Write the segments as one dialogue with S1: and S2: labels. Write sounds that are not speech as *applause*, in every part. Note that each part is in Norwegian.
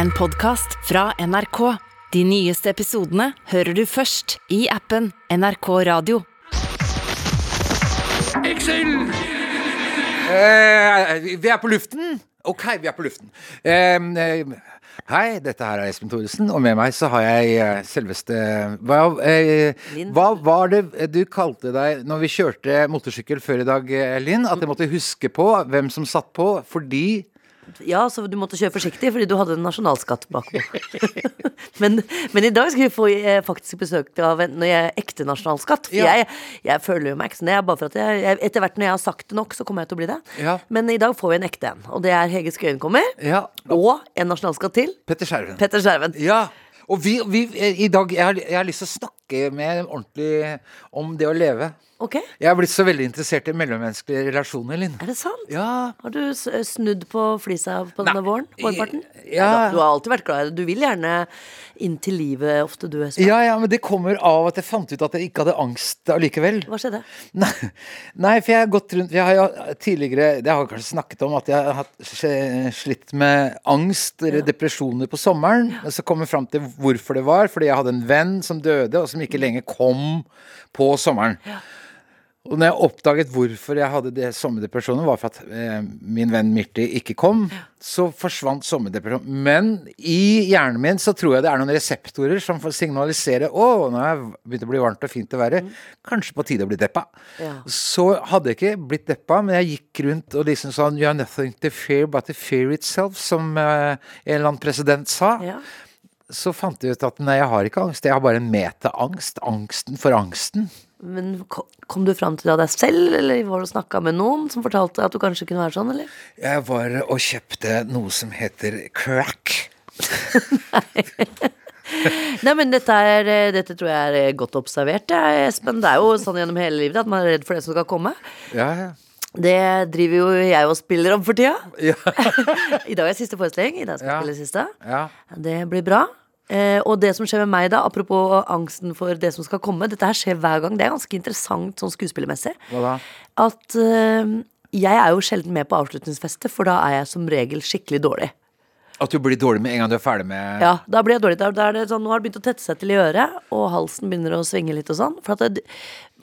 S1: En podcast fra NRK. De nyeste episodene hører du først i appen NRK Radio.
S2: Excel! Eh, vi er på luften. Ok, vi er på luften. Eh, eh, hei, dette her er Espen Thoresen, og med meg så har jeg eh, selveste hva, eh, hva var det du kalte deg når vi kjørte motorsykkel før i dag, eh, Linn? At jeg måtte huske på hvem som satt på, fordi
S3: Ja, så du måtte kjøre forsiktig fordi du hadde en nasjonalskatt bakpå. *laughs* men, men i dag skal vi få eh, faktisk besøk av en når jeg er ekte nasjonalskatt. For
S2: Ja.
S3: jeg, jeg føler jo meg ikke sånn. Jeg er bare for at jeg, jeg, etter hvert når jeg har sagt det nok, så kommer jeg til å bli det.
S2: Ja.
S3: Men i dag får vi en ekte en. Og det er Hege Skøyen kommer.
S2: Ja.
S3: Og en nasjonalskatt til.
S2: Petter Skjerven.
S3: Petter Skjerven.
S2: Ja. Og vi, vi eh, i dag jeg har, jeg har lyst til å snakke med ordentlig om det å leve.
S3: Ok,
S2: Jeg har blitt så veldig interessert i mellommenneskelige relasjoner, Linn.
S3: er det sant?
S2: Ja,
S3: Har du s- eh, snudd på flisa på denne
S2: Nei,
S3: våren? Vårparten?
S2: ja.
S3: Neida, Du har alltid vært glad i det. Du vil gjerne inn til livet ofte, du, Espen.
S2: Ja, ja, men det kommer av at jeg fant ut at jeg ikke hadde angst allikevel.
S3: Hva skjedde?
S2: Nei, nei, for jeg har gått rundt Jeg har jo tidligere Det har jeg kanskje snakket om, at jeg har hatt, sj- slitt med angst eller depresjoner på sommeren. Og så kom jeg fram til hvorfor det var, fordi jeg hadde en venn som døde, og som ikke lenger kom på sommeren. Og når jeg oppdaget hvorfor jeg hadde det sommerdepresjonen, var for at eh, min venn Mirti ikke kom. Så forsvant sommerdepresjonen. Men i hjernen min så tror jeg det er noen reseptorer som får signalisere å, nå har jeg begynt å bli varmt og fint i været. Kanskje på tide å bli deppa.
S3: Ja.
S2: Så hadde jeg ikke blitt deppa, men jeg gikk rundt og liksom sånn You are nothing to fear but to fear itself, som eh, en eller annen president sa
S3: Ja.
S2: så fant jeg ut at nei, jeg har ikke angst, jeg har bare en metaangst. Angsten for angsten.
S3: Men ko- kom du fram til det av deg selv, eller var du snakka med noen som fortalte at du kanskje kunne være sånn, eller?
S2: Jeg var og kjøpte noe som heter crack.
S3: Nei, men dette, er, eh, dette tror jeg er eh, godt observert, det er, Espen. Det er jo sånn gjennom hele livet at man er redd for det som skal komme.
S2: Ja, ja.
S3: Det driver jo jeg og spiller om for tida. *laughs*
S2: Ja.
S3: I dag er siste forestilling. I dag skal
S2: Ja.
S3: jeg spille siste.
S2: ja.
S3: Det blir bra. Eh, og det som skjer med meg da, apropos angsten for det som skal komme, dette her skjer hver gang. Det er ganske interessant sånn skuespillermessig.
S2: Hva da?
S3: At eh, jeg er jo sjelden med på avslutningsfestet, for da er jeg som regel skikkelig dårlig.
S2: At du blir dårlig med en gang du er ferdig med
S3: Ja, da blir jeg dårlig. Da, da er det sånn, nå har det begynt å tette seg til i øret, og halsen begynner å svinge litt og sånn. For at det,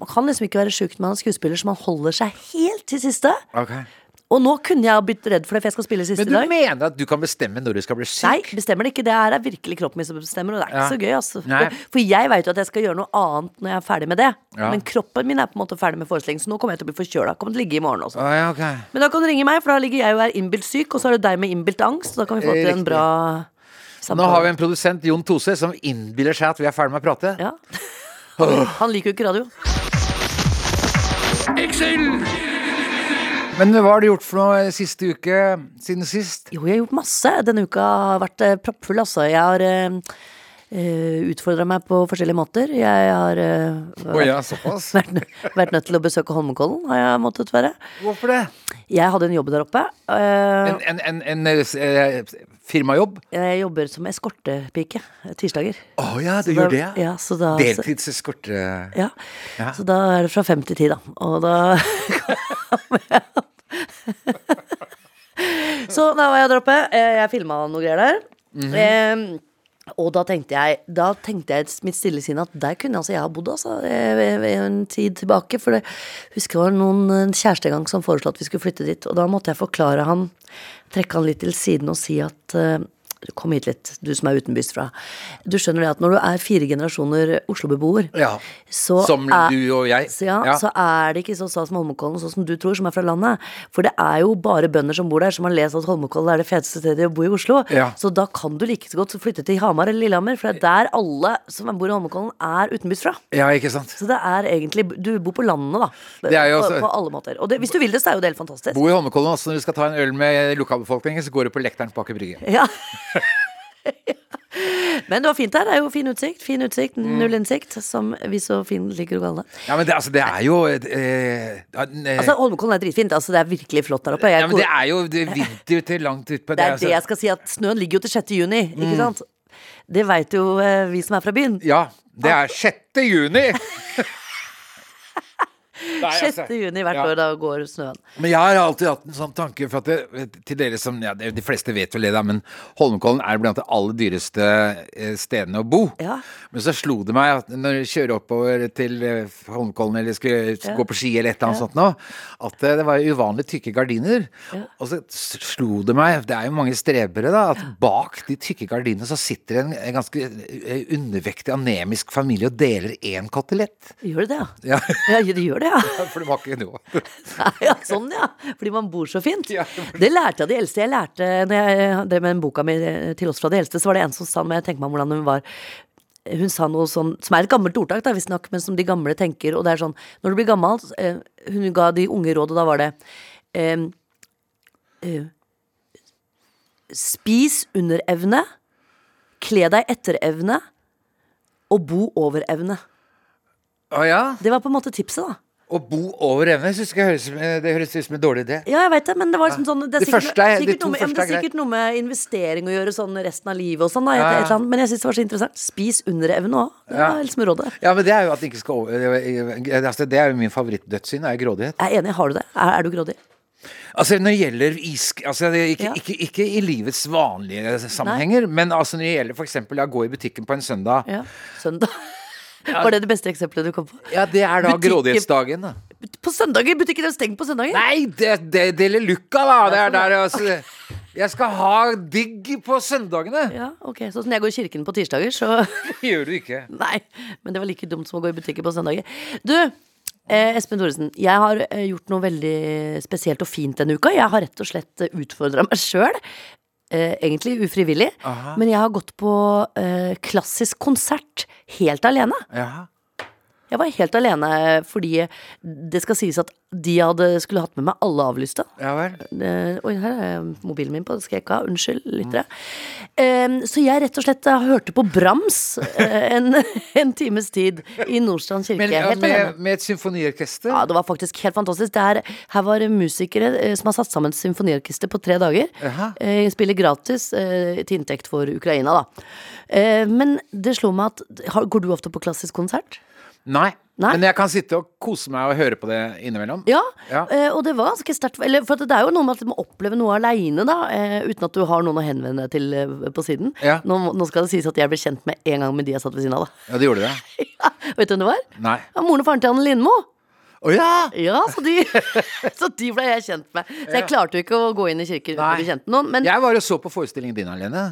S3: man kan liksom ikke være sjuk når man er skuespiller, så man holder seg helt til siste.
S2: Ok.
S3: Og nå kunne jeg ha blitt redd for det, for jeg skal spille siste
S2: Men
S3: i
S2: du
S3: dag.
S2: mener at du kan bestemme når du skal bli syk?
S3: Nei, bestemmer det ikke. Det her er virkelig kroppen min som bestemmer, og det er ikke
S2: Ja.
S3: så gøy. Altså.
S2: Nei.
S3: For, for jeg veit jo at jeg skal gjøre noe annet når jeg er ferdig med det.
S2: Ja.
S3: Men kroppen min er på en måte ferdig med forestillingen, så nå kommer jeg til å bli forkjøla. Kommer til å ligge i morgen også.
S2: Å, ja, ok.
S3: Men da kan du ringe meg, for da ligger jeg og er innbilt syk, og så er det deg med innbilt angst. Og da kan vi få
S2: Eh,
S3: til
S2: riktig.
S3: en bra samtale.
S2: Nå har vi en produsent, Jon Tose, som innbiller seg at vi er ferdig med å prate. *sighs*
S3: Ja. Han, han liker jo ikke radio.
S2: Men hva har du gjort for noe siste uke siden sist?
S3: Jo, jeg har gjort masse. Denne uka har vært eh, proppfull, altså. Jeg har uh, utfordra meg på forskjellige måter. Jeg har eh,
S2: ja, såpass.
S3: vært, nø- vært nødt til å besøke Holmenkollen, har jeg måttet være.
S2: Hvorfor det?
S3: Jeg hadde en jobb der oppe. eh,
S2: En, en, en, en eh, firmajobb?
S3: jeg jobber som eskortepike eh, tirsdager.
S2: Å ja, eh, du gjør det?
S3: Da- ja, så da, så,
S2: Deltidseskorte
S3: ja.
S2: Ja.
S3: så da er det fra fem til ti, da. Og da *laughs* Så da var jeg der oppe. Eh, Jeg filma noe greier der. Eh, og da tenkte jeg Da tenkte jeg i mitt stille sinn at der kunne altså jeg ha bodd altså, eh, eh, en tid tilbake. For det husker jeg var noen en kjæreste en gang som foreslo at vi skulle flytte dit. Og da måtte jeg forklare han, trekke han litt til siden og si at eh, Kom hit litt, du som er utenbys fra. Du skjønner det at når du er fire generasjoner Oslo-beboer,
S2: Ja.
S3: så
S2: Som
S3: er-
S2: du og jeg.
S3: Så, ja,
S2: Ja.
S3: så er det ikke så stas med Holmenkollen sånn som du tror, som er fra landet. For det er jo bare bønder som bor der, som har lest at Holmenkollen er det feteste stedet å bo i Oslo.
S2: Ja.
S3: Så da kan du like så godt flytte til Hamar eller Lillehammer, for det er der alle som bor i Holmenkollen, er utenbys fra.
S2: Ja, ikke sant.
S3: Så det er egentlig Du bor på landet, da.
S2: Det er jo
S3: på,
S2: også-
S3: på alle måter. Og det, hvis du vil det, så er jo det helt fantastisk.
S2: Bo i Holmenkollen også når du skal ta en øl med lokalbefolkningen, så går du på lekteren bak i brygget.
S3: *laughs* Ja. Men det var fint her. Det er jo fin utsikt. Fin utsikt,
S2: Mm.
S3: null innsikt, som vi så fint liker å kalle det.
S2: Ja, men det, altså, det er jo eh, eh,
S3: Altså, Holmenkollen er dritfint. Altså, det er virkelig flott der oppe. Jeg,
S2: ja, men det er jo det er vinter til langt utpå altså-
S3: det er altså- Mm. det jeg skal si, at snøen ligger jo til 6. juni, ikke sant? Det veit jo eh, vi som er fra byen. *laughs*
S2: *laughs* Ja. Det er 6. juni! altså.
S3: 6. juni hvert
S2: Ja.
S3: år, da går snøen.
S2: Men jeg har alltid hatt en sånn tanke for at det, til dere som, ja, det- De fleste vet vel det, da, men Holmenkollen er blant de aller dyreste eh, stedene å bo.
S3: Ja.
S2: Men så slo det meg at når jeg kjører oppover til eh, Holmenkollen eller skulle skulle gå på ski eller et eller annet sånt nå, at eh, det var uvanlig tykke gardiner. Og så s- slo det meg, det er jo mange strebere, da, at bak de tykke gardinene så sitter en en ganske eh, undervektig anemisk familie og deler én kotelett.
S3: Gjør det det, ja?
S2: Ja,
S3: Ja, det gjør det, ja.
S2: for det var ikke noe.
S3: Nei, *laughs* ja, sånn ja. Fordi man bor så fint.
S2: Ja.
S3: Det lærte jeg av de eldste. Jeg lærte, når jeg drev med den boka mi eh, til oss fra de eldste, så var det en som sa, når jeg tenker meg om hvordan hun var Hun sa noe sånn, som er et gammelt ordtak, da, visstnok, men som de gamle tenker. Og det er sånn, når du blir gammel så, eh, Hun ga de unge råd, og da var det ehm, eh, Spis under evne, kle deg etter evne, og bo over evne.
S2: Å ja?
S3: Det var på en måte tipset, da.
S2: Å bo over evne synes jeg høres, eh, det høres ut som en dårlig idé.
S3: Ja, jeg vet det, men det var liksom sånn Det er
S2: De
S3: sikkert,
S2: første er- de
S3: sikkert,
S2: to
S3: noe, med, ja, men
S2: første
S3: det
S2: er
S3: er sikkert noe med investering å gjøre sånn resten av livet og sånn, da. Et,
S2: Ja, ja.
S3: et eller annet. Men jeg syns det var så interessant. Spis under evne òg. Det
S2: Ja.
S3: var liksom rådet.
S2: Ja, men det er jo at det ikke skal over altså, Det er jo min favorittdødssyn, er jo grådighet.
S3: Jeg er enig. Har du det? Er, er du grådig?
S2: Altså når det gjelder isk altså, det, er ikke,
S3: Ja.
S2: ikke, ikke i livets vanlige sammenhenger, men altså når det gjelder f.eks. å gå i butikken på en søndag
S3: Ja.
S2: *laughs*
S3: Søndag. Var det det beste eksempelet du kom på?
S2: Ja, det er da
S3: Butikken-
S2: grådighetsdagen, da.
S3: På søndager? Butikken er jo stengt på søndager.
S2: Nei, det, det deler lukka, da! Det er der altså Jeg skal ha digg på søndagene!
S3: Ja, ok. Sånn som når jeg går i kirken på tirsdager, så
S2: Det gjør du ikke.
S3: *laughs* Nei, men det var like dumt som å gå i butikker på søndager. Du, eh, Espen Thoresen. Jeg har eh, gjort noe veldig spesielt og fint denne uka. Jeg har rett og slett utfordra meg sjøl. Eh, egentlig ufrivillig. Men jeg har gått på eh, klassisk konsert helt alene.
S2: Ja.
S3: Jeg var helt alene eh, fordi det skal sies at de jeg hadde skulle hatt med meg, alle avlyste.
S2: Ja vel.
S3: Eh, Oi, her er mobilen min på, det skal jeg ikke ha. Unnskyld, lyttere. Eh, så jeg rett og slett eh, hørte på Brams eh, en, *laughs* en times tid i Nordstrand kirke.
S2: Men,
S3: helt alene.
S2: med, med et symfoniorkester?
S3: Ja, det var faktisk helt fantastisk. Det her, her var det musikere eh, som har satt sammen et symfoniorkester på tre dager.
S2: Jaha.
S3: Eh, spiller gratis eh, til inntekt for Ukraina, da. Eh, men det slo meg at har, Går du ofte på klassisk konsert?
S2: Nei.
S3: Nei.
S2: Men jeg kan sitte og kose meg og høre på det innimellom.
S3: Ja,
S2: Ja.
S3: eh, og det var ganske sterkt. Eller, for at det er jo noe med at du må oppleve noe aleine, da. eh, Uten at du har noen å henvende deg til eh, på siden.
S2: Ja.
S3: Nå, må- nå skal det sies at jeg ble kjent med en gang med de jeg satt ved siden av, da. *laughs*
S2: Ja, det gjorde det.
S3: Ja, vet du hvem det var?
S2: Nei.
S3: Ja, moren og faren til Anne Lindmo.
S2: Å ja!
S3: Ja, så de, *laughs* så de ble jeg kjent med. Så jeg klarte jo ikke å gå inn i kirken uten å
S2: Nei.
S3: bli kjent med noen. Men
S2: Jeg var og så på forestillingen din alene.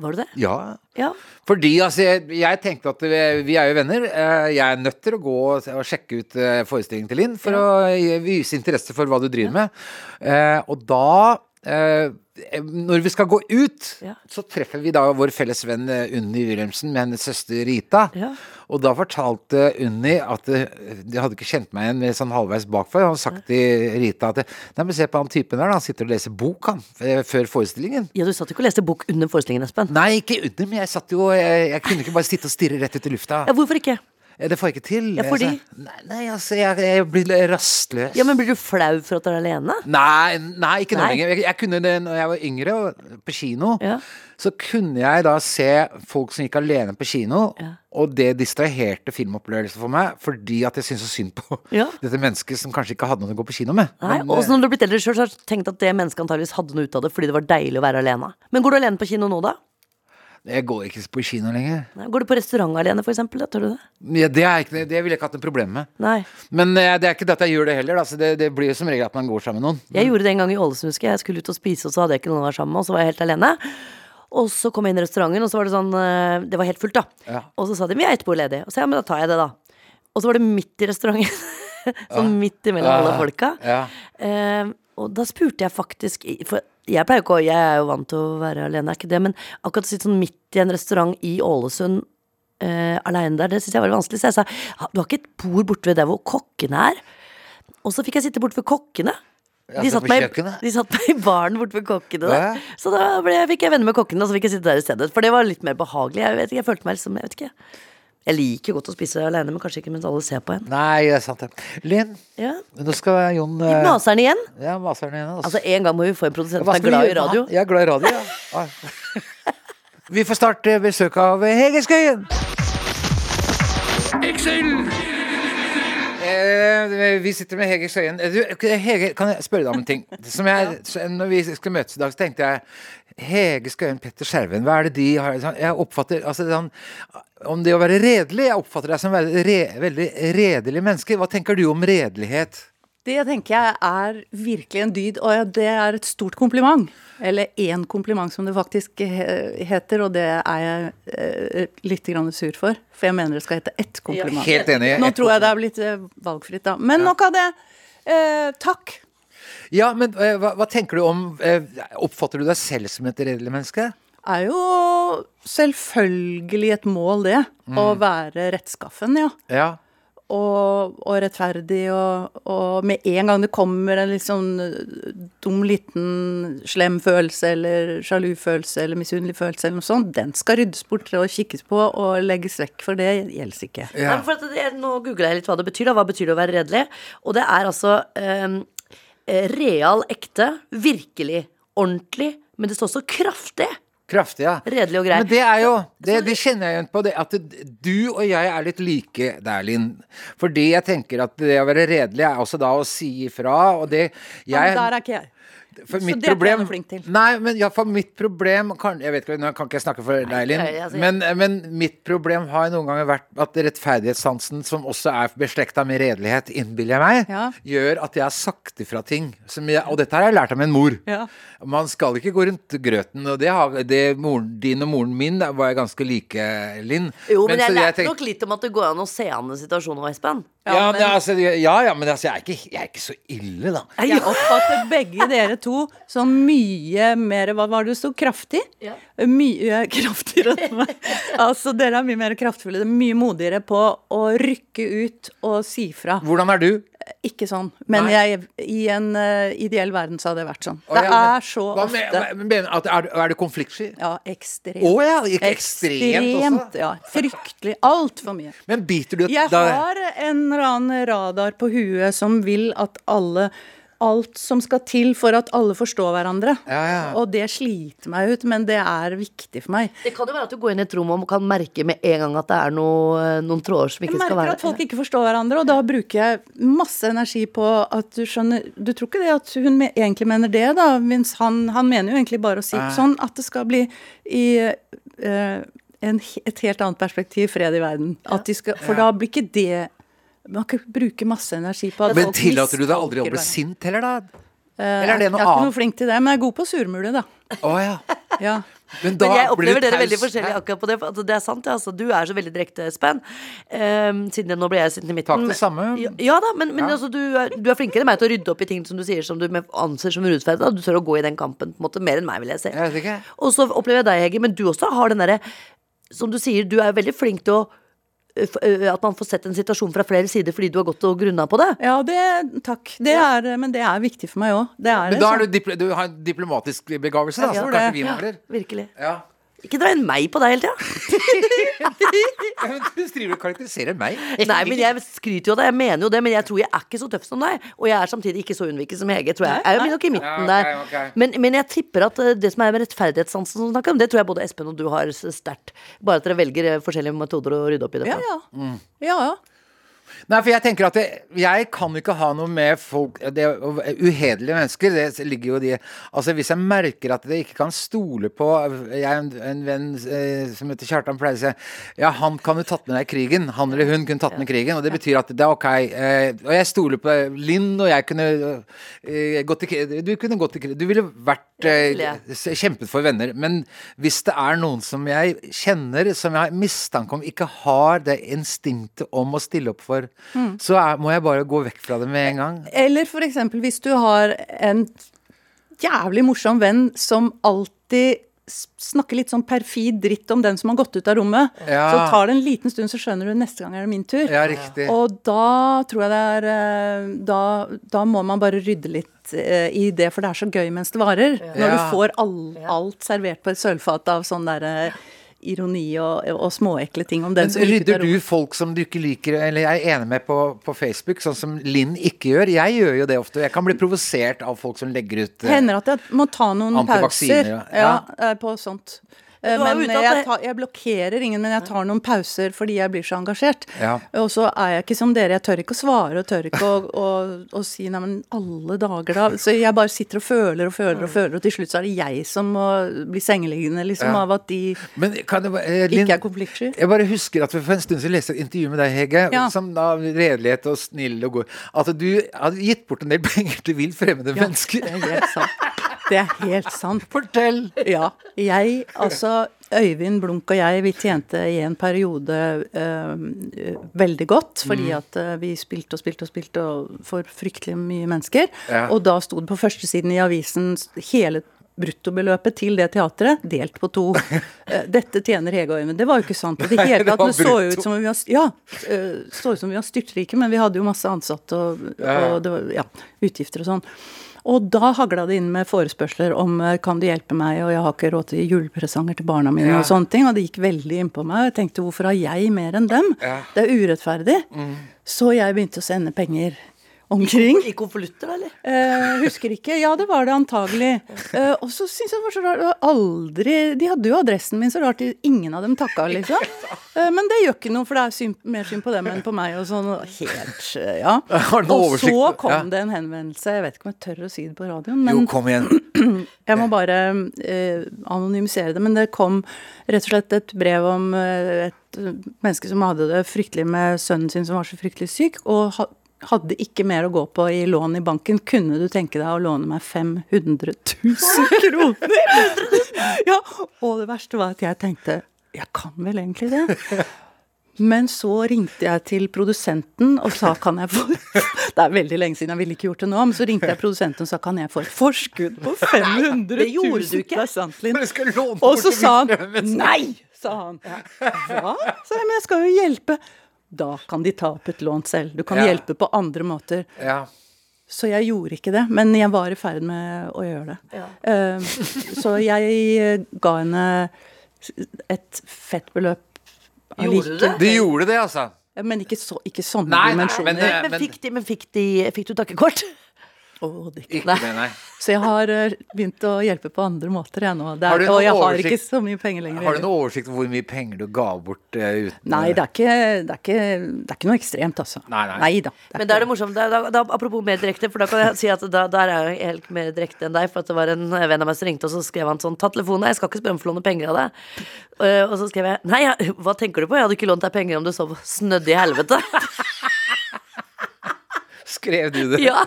S3: var du det?
S2: Ja.
S3: Ja.
S2: Fordi altså, jeg, jeg tenkte at vi, vi er jo venner. Eh, Jeg er nødt til å gå og og sjekke ut eh, forestillingen til Linn for å gi- vise interesse for hva du driver med. Eh, Og da eh, når vi skal gå ut,
S3: Ja.
S2: så treffer vi da vår felles venn eh, Unni Wilhelmsen med hennes søster Rita.
S3: Ja.
S2: Og da fortalte Unni at eh, de hadde ikke kjent meg igjen med sånn halvveis bakfor. Han hadde sagt til Rita at Nei, men se på han typen der, da. Han sitter og leser bok, han. eh, Før forestillingen.
S3: ja, du satt ikke og leste bok under forestillingen, Espen.
S2: Nei, ikke Unni, men jeg satt jo Jeg, jeg kunne ikke bare sitte og stirre rett ut i lufta.
S3: Ja, hvorfor ikke?
S2: Eh, Det får jeg ikke til.
S3: Ja,
S2: Jeg
S3: fordi?
S2: sa, Nei, nei altså, jeg, jeg blir rastløs.
S3: Ja, men blir du flau for at du er alene?
S2: Nei, nei, ikke nå
S3: Nei.
S2: lenger. Jeg, jeg kunne det når jeg var yngre, og på kino.
S3: Ja.
S2: Så kunne jeg da se folk som gikk alene på kino,
S3: Ja.
S2: og det distraherte filmopplevelsen for meg, fordi at jeg syntes så synd på
S3: Ja.
S2: dette mennesket som kanskje ikke hadde noen å gå på kino med.
S3: Nei,
S2: Men,
S3: og
S2: eh,
S3: når du har blitt eldre selv, så har du tenkt at det mennesket antageligvis hadde noe ut av det fordi det var deilig å være alene. Men går du alene på kino nå, da?
S2: jeg går ikke på kino lenger.
S3: Nei, Går du på restaurant alene, for eksempel? Da, tror du det?
S2: Ja, det, er ikke, det ville jeg ikke hatt noe problem med.
S3: Nei.
S2: Men eh, det er ikke det at jeg gjør det heller. da, så det, det blir jo som regel at man går sammen med noen.
S3: Jeg gjorde det en gang i Ålesund, husker jeg. Jeg skulle ut og spise, og så hadde jeg ikke noen å være sammen med, og så var jeg helt alene. Og så kom jeg inn i restauranten, og så var det sånn eh, Det var helt fullt, da.
S2: Ja.
S3: Og så sa de vi har ett bord ledig. Og så ja, men da tar jeg det, da. Og så var det midt i restauranten. *laughs* sånn midt imellom alle
S2: Ja.
S3: folka.
S2: Ja.
S3: Eh, og da spurte jeg faktisk i- For jeg pleier ikke å Jeg er jo vant til å være alene, er ikke det? Men akkurat å sitte sånn midt i en restaurant i Ålesund eh, aleine der, det syns jeg var veldig vanskelig. Så jeg sa «Ha, du har ikke et bord borte ved der hvor kokkene er? Og så fikk jeg sitte borte ved kokkene. De
S2: Altså,
S3: satt,
S2: på
S3: meg, i-
S2: kjøkkenet?
S3: de satt meg i baren borte ved kokkene. Da.
S2: Hæ?
S3: Så da ble, fikk jeg venner med kokkene, og så fikk jeg sitte der i stedet. For det var litt mer behagelig. Jeg, vet ikke, jeg følte meg liksom, jeg vet ikke Jeg liker godt å spise aleine, men kanskje ikke mens alle ser på en.
S2: Nei, det er sant, det. Linn,
S3: Ja.
S2: nå skal Jon eh,
S3: Maseren igjen.
S2: Ja, maseren igjen. altså.
S3: Altså, En gang må vi få en produsent som
S2: Hva
S3: er
S2: skal vi
S3: glad i
S2: gjøre med
S3: radio.
S2: han? Jeg er glad i
S3: *laughs*
S2: radio, ja. ja. Vi får snart eh, besøk av Hegeskøyen. Excel! Eh, vi sitter med Hege Skøyen. Eh, Du, Hege, kan jeg spørre deg om en ting? Som jeg, så når vi skulle møtes i dag, så tenkte jeg Hege Skøyen, Petter Skjerven, hva er det de har sånn, Jeg oppfatter altså, sånn, Om det å være redelig Jeg oppfatter deg som et re, veldig redelig menneske. Hva tenker du om redelighet?
S4: Det tenker jeg er virkelig en dyd, og ja, det er et stort kompliment. Eller én kompliment, som det faktisk he- heter, og det er jeg eh, litt grann sur for. For jeg mener det skal hete ett kompliment.
S2: Helt enig.
S4: Nå tror jeg det er blitt eh, valgfritt, da. Men nok av det. Eh, takk.
S2: Ja, men eh, hva, hva tenker du om eh, Oppfatter du deg selv som et redelig menneske?
S4: Er jo selvfølgelig et mål, det. Å være rettskaffen, ja.
S2: Ja.
S4: og, og rettferdig, og, og med en gang det kommer en litt sånn øh, dum liten slem følelse, eller sjalu følelse, eller misunnelig følelse, eller noe sånt, den skal ryddes bort og kikkes på og legges vekk, for det gjelder ikke.
S2: Ja.
S3: Nei, men for at det, nå googler jeg litt hva det betyr. Da. Hva betyr det å være redelig? Og det er altså ehm, eh, real, ekte, virkelig, ordentlig. Men det står også kraftig.
S2: Kraftig, ja.
S3: Redelig og grei.
S2: Men det er jo Det, det kjenner jeg igjen på. Det, at du og jeg er litt like der, Linn. Fordi jeg tenker at det å være redelig er også da å si ifra, og det jeg,
S4: Men der er ikke jeg.
S2: for
S4: så
S2: mitt
S4: det er ikke jeg
S2: problem-
S4: noe flink til.
S2: Nei, men ja, for mitt problem kan, Jeg vet ikke, nå kan ikke jeg snakke for deg, Linn,
S3: nei, altså,
S2: men, men mitt problem har noen ganger vært at rettferdighetssansen, som også er beslekta med redelighet, innbiller jeg meg,
S4: Ja.
S2: gjør at jeg har sagt ifra ting. Som jeg, og dette har jeg lært av min mor.
S4: Ja.
S2: Man skal ikke gå rundt grøten, og det har det, moren din og moren min der var jeg ganske like, Linn.
S3: Jo, men,
S2: så
S3: jeg lærte
S2: tenk-
S3: nok litt om at det går an å se an en situasjon nå, Espen.
S2: ja,
S4: Ja,
S2: men,
S4: men-
S2: altså, ja, ja, men altså, jeg er ikke, jeg er ikke så ille, da.
S4: Jeg oppfatter begge dere to som mye mer Hva var det det sto? Kraftig?
S3: Ja.
S4: Mye kraftigere enn meg. Altså, dere er mye mer kraftfulle. Mye modigere på å rykke ut og si fra.
S2: Hvordan er du?
S4: Ikke sånn. Men
S2: Nei.
S4: jeg, i en eh, ideell verden så hadde det vært sånn.
S2: Å,
S4: Det
S2: ja, men-
S4: er så
S2: Hva
S4: ofte
S2: men- men- mener- at, er, du- er du konfliktsky?
S4: Ja, ekstremt.
S2: Å ja, ikke ekstremt også.
S4: Ja, fryktelig. Altfor mye.
S2: Men biter du
S4: Jeg
S2: da-
S4: har en eller annen radar på huet som vil at alle Alt som skal til for at alle forstår hverandre.
S2: Ja, ja.
S4: Og det sliter meg ut, men det er viktig for meg.
S3: Det kan jo være at du går inn i et rom og kan merke med en gang at det er noe, eh, noen tråder som
S4: Jeg
S3: ikke skal
S4: merker
S3: være
S4: at folk ikke forstår hverandre, og da bruker jeg masse energi på at du skjønner Du tror ikke det at hun me egentlig mener det, da, mens han, han mener jo egentlig bare å si sånn at det skal bli i eh, en, he- et helt annet perspektiv fred i verden. At de skal, for da blir ikke det Man kan ikke bruke masse energi på at
S2: Men
S4: folk
S2: tillater du deg aldri å bli
S4: mistolker hverandre.
S2: sint heller, da?
S4: Altså, Eh,
S2: Eller er det noe
S4: jeg er ikke
S2: annet?
S4: noe flink til det, men jeg er god på surmule, da.
S2: Å ja.
S4: Ja.
S2: Men
S3: Men jeg
S2: blir du
S3: opplever dere
S2: taus.
S3: veldig forskjellig
S2: Hæ?
S3: akkurat på det. for at Det er sant, ja, altså. Du er så veldig direkte, Espen. Ehm, siden jeg, nå ble jeg sittende i midten.
S2: Takk, det samme.
S3: Ja, ja da, men, men
S2: Ja.
S3: Altså, du, er, du er flinkere enn meg til å rydde opp i ting som du sier som du med- anser som urettferdig. da. Du tør å gå i den kampen på en måte, mer enn meg, vil jeg si.
S2: Jeg vet ikke.
S3: Og så opplever jeg deg, Hege, men du også har den derre Som du sier, du er veldig flink til å ø, f- ø, At man får sett en situasjon fra flere sider fordi du har gått og grunna på det.
S4: ja, det Takk. Det er, men det er viktig for meg òg. Det er
S2: Men
S4: en
S2: da
S4: sånn-
S2: er du, dipl du har en diplomatisk begavelse, da,
S4: Jeg
S2: som
S4: tror
S2: kanskje
S4: det.
S2: vi mangler.
S3: Virkelig.
S2: Ja.
S4: *laughs*
S3: Ikke dra inn meg på deg hele tida.
S2: *laughs* Ja, Men du driver og karakteriserer meg.
S3: Nei, men jeg skryter jo av deg, jeg mener jo det, men jeg tror jeg er ikke så tøff som deg. Og jeg er samtidig ikke så unnviket som Hege, tror jeg. Jeg er jo nok i midten
S2: Ja,
S3: der.
S2: ok, ok.
S3: Men, men jeg tipper at eh, det som er med rettferdighetssansen som du snakker om, det tror jeg både Espen og du har s- sterkt. Bare at dere velger eh, forskjellige metoder å rydde opp i det
S4: Ja,
S3: på.
S4: ja.
S2: Mm.
S4: ja, ja.
S2: Nei, for jeg tenker at det, jeg kan ikke ha noe med folk det, Uhederlige mennesker, det ligger jo i de Altså, hvis jeg merker at jeg ikke kan stole på Jeg er en, en venn eh, som heter Kjartan, pleier å si Ja, han kan jo tatt med deg i krigen. Han eller hun kunne tatt med i krigen, og det betyr at det er ok. Eh, og jeg stoler på deg. Linn og jeg kunne eh, gått i kri- Du kunne gått i krigen. Du ville vært eh,
S3: ville
S2: s- kjempet for venner. Men hvis det er noen som jeg kjenner, som jeg har mistanke om ikke har det instinktet om å stille opp for,
S4: Mm.
S2: så er, må jeg bare gå vekk fra det med en gang.
S4: Eller for eksempel hvis du har en jævlig morsom venn som alltid s- snakker litt sånn perfid dritt om den som har gått ut av rommet,
S2: Ja.
S4: så tar det en liten stund, så skjønner du neste gang er det min tur.
S2: Ja, riktig.
S4: Og da tror jeg det er eh, Da, da må man bare rydde litt eh, i det, for det er så gøy mens det varer. Når du
S2: Ja.
S4: får all, alt servert på et sølvfat av sånn derre ironi og, og småekle ting om den
S2: Men
S4: som gikk ut av
S2: rydder
S4: rommet.
S2: du folk som du ikke liker, eller jeg er enig med på, på Facebook, sånn som Linn ikke gjør? Jeg gjør jo det ofte. Jeg kan bli provosert av folk som legger ut eh,
S4: Hender at jeg må ta noen
S2: Antivaksiner,
S4: pauser
S2: ja.
S4: ja, eh, på sånt. Eh,
S3: Du var
S4: Men
S3: ute at
S4: jeg,
S3: det-
S4: tar, jeg blokkerer ingen, men jeg tar noen pauser fordi jeg blir så engasjert.
S2: Ja.
S4: Og så er jeg ikke som dere, jeg tør ikke å svare og tør ikke å,
S2: *laughs*
S4: å, å si nei, men alle dager da. Så jeg bare sitter og føler og føler og føler, og til slutt så er det jeg som må bli sengeliggende liksom
S2: Ja.
S4: av at de
S2: Men kan det, eh, Linn,
S4: ikke er konfliktsky.
S2: Jeg bare husker at vi for en stund siden leste et intervju med deg, Hege,
S4: Ja.
S2: som da redelighet og snill og god At du hadde gitt bort en del penger til vilt fremmede mennesker.
S4: Det er helt sant. Det er helt sant.
S2: Fortell!
S4: Ja. Jeg, altså Øyvind Blunk og jeg, vi tjente i en periode eh, veldig godt. Fordi
S2: Mm.
S4: at eh, vi spilte og spilte og spilte og for fryktelig mye mennesker.
S2: Ja.
S4: Og da sto det på førstesiden i avisen s- hele bruttobeløpet til det teatret, delt på
S2: *laughs*
S4: to. Eh, Dette tjener Hege og Øyvind. Det var jo ikke sant. i Det
S2: Nei,
S4: hele
S2: det
S4: tatt.
S2: var
S4: Det så jo
S2: brutto.
S4: ut som om vi var, s- ja, eh, så ut som om vi var styrtrike, men vi hadde jo masse ansatte og,
S2: Ja, ja.
S4: og det var, ja, utgifter og sånn. Og da hagla det inn med forespørsler om eh, kan du hjelpe meg, og jeg har ikke råd til julepresanger til barna mine
S2: Ja.
S4: og sånne ting. Og det gikk veldig innpå meg. og Jeg tenkte hvorfor har jeg mer enn dem?
S2: Ja. Mm.
S4: Det er urettferdig. Så jeg begynte å sende penger omkring.
S3: I konvolutter, eller?
S4: Eh, husker ikke. Ja, det var det antagelig. Eh, og så syns jeg det var så rart. det var Aldri De hadde jo adressen min, så rart de- ingen av dem takka, liksom. Eh, men det gjør ikke noe, for det er syn, mer synd på dem enn på meg og sånn. og Helt, eh, ja.
S2: Har du noe
S4: Og så
S2: oversikt?
S4: kom
S2: Ja.
S4: det en henvendelse. Jeg vet ikke om jeg tør å si det på radioen, men
S2: Jo, kom
S4: *laughs*
S2: igjen.
S4: jeg må bare eh, anonymisere det, men det kom rett og slett et brev om eh, et eh, menneske som hadde det fryktelig med sønnen sin som var så fryktelig syk, og ha, hadde ikke mer å gå på i lån i banken. Kunne du tenke deg å låne meg 500 000 kroner? *laughs* ja, og det verste var at jeg tenkte jeg kan vel egentlig
S3: *laughs*
S4: det? Men så ringte jeg til produsenten og sa kan jeg få *laughs* Det er veldig lenge siden, jeg ville ikke gjort det nå, men så ringte jeg produsenten og sa kan jeg få et forskudd
S3: *laughs*
S4: på 500 000?
S3: Det gjorde du ikke.
S4: Det er sant, Linn.
S2: Men jeg skal låne
S4: *laughs* Og
S2: bort
S4: så
S2: til
S4: sa
S3: *laughs*
S2: vilt fremmede
S4: han
S2: mennesker.
S4: nei, sa han. *laughs* Hva? Sa jeg, men jeg skal jo hjelpe. Da kan de ta opp et lån selv. Du kan
S2: Ja.
S4: hjelpe på andre måter.
S2: Ja.
S4: Så jeg gjorde ikke det, men jeg var i ferd med å gjøre det.
S3: Ja.
S4: Eh, så jeg eh, ga henne et fett beløp.
S3: Gjorde du det?
S2: Du gjorde det, altså?
S4: Ja, Men ikke, så, ikke sånne
S2: Nei, nei,
S4: dimensjoner.
S2: men, eh,
S3: Men, fikk, de, men fikk, de, fikk du takkekort?
S4: Å, det
S2: Ikke
S3: Nei.
S2: det, nei.
S4: Så jeg har eh, begynt å hjelpe på andre måter, jeg nå. Det
S2: Har du
S4: er,
S2: noe
S4: og jeg har
S2: oversikt?
S4: ikke så mye penger lenger.
S2: Har du noe oversikt over hvor mye penger du ga bort eh, uten
S4: Nei, det er, ikke, det, er ikke, det er ikke noe ekstremt, altså.
S2: Nei, nei.
S4: da. det er
S3: Men
S4: ikke
S3: da er det morsomt. Da, da, da, apropos mer direkte, for da kan jeg si at da, der er jeg helt mer direkte enn deg. For at det var en venn av meg som ringte, og så skrev han sånn Ta telefonen, jeg skal ikke spørre om å få låne penger av deg. Eh, og så skrev jeg Nei, jeg, hva tenker du på? Jeg hadde ikke lånt deg penger om du sov snødd i helvete.
S2: *laughs*
S3: *laughs*
S2: Skrev du det?
S3: ja.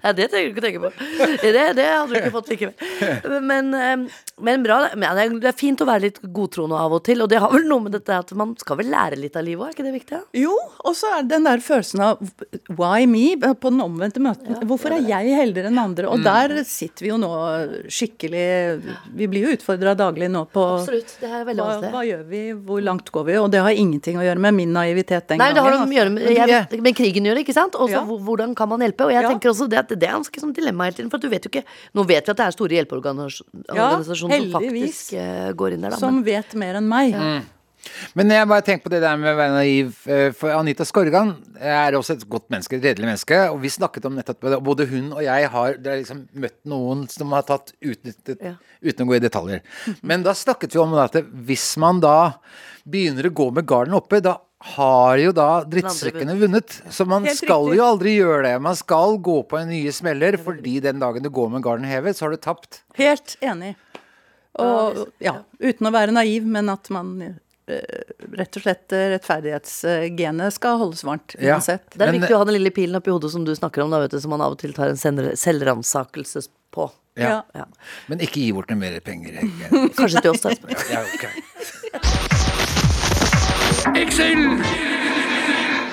S3: Nei, det trenger du ikke tenke på. Det, det hadde du ikke fått likevel. Men, eh, men bra. det- Men det er- det er fint å være litt godtroende av og til, og det har vel noe med dette at man skal vel lære litt av livet òg, er ikke det viktig? da?
S4: Jo, og så er det den der følelsen av why me på den omvendte møten. Hvorfor er jeg heldigere enn andre?
S3: Mm.
S4: Og der sitter vi jo nå skikkelig Vi blir jo utfordra daglig nå på
S3: Absolutt. Det er veldig
S4: hva,
S3: vanskelig.
S4: hva gjør vi, hvor langt går vi? Og det har ingenting å gjøre med min naivitet den
S3: Nei, det
S4: gangen. altså.
S3: har noe med, å gjøre med,
S2: altså. Men du-
S3: jeg, med krigen gjør det, ikke sant? Og
S4: Ja.
S3: hvordan kan man hjelpe? Og jeg
S4: Ja.
S3: tenker også det at det er ganske sånn dilemma hele tiden. For at du vet jo ikke Nå vet vi at det er store hjelpeorganisasjoner
S4: Ja,
S3: organisasjoner som
S4: heldigvis.
S3: faktisk eh, går inn der, da.
S4: Som vet mer enn meg.
S2: Men jeg bare tenker på det der med å være naiv. eh, For Anita Skorgan eh, er også et godt menneske, et redelig menneske. Og vi snakket om nettopp det. og Både hun og jeg har det er liksom møtt noen som har tatt utnyttet
S3: Ja.
S2: uten å gå i detaljer. Men da snakket vi om at det- hvis man da begynner å gå med garden oppe, da har jo da drittsekkene vunnet. Så man
S4: Helt
S2: skal
S4: riktig.
S2: jo aldri gjøre det. Man skal gå på en nye smeller, fordi den dagen du går med garden hevet, så har du tapt.
S4: Helt enig. Og ja, uten å være naiv, men at man eh, rett og slett eh, rettferdighetsgenet skal holdes varmt
S2: Ja.
S4: uansett.
S3: det er
S2: men- eh,
S3: viktig å ha den lille pilen oppi hodet som du snakker om, da, vet du, som man av og til tar en senere- selvransakelse på.
S2: Ja.
S3: Ja.
S2: Men ikke gi bort noe mer penger. Hege.
S3: Kanskje til oss, da. Espen.
S2: *laughs* Ja, ok.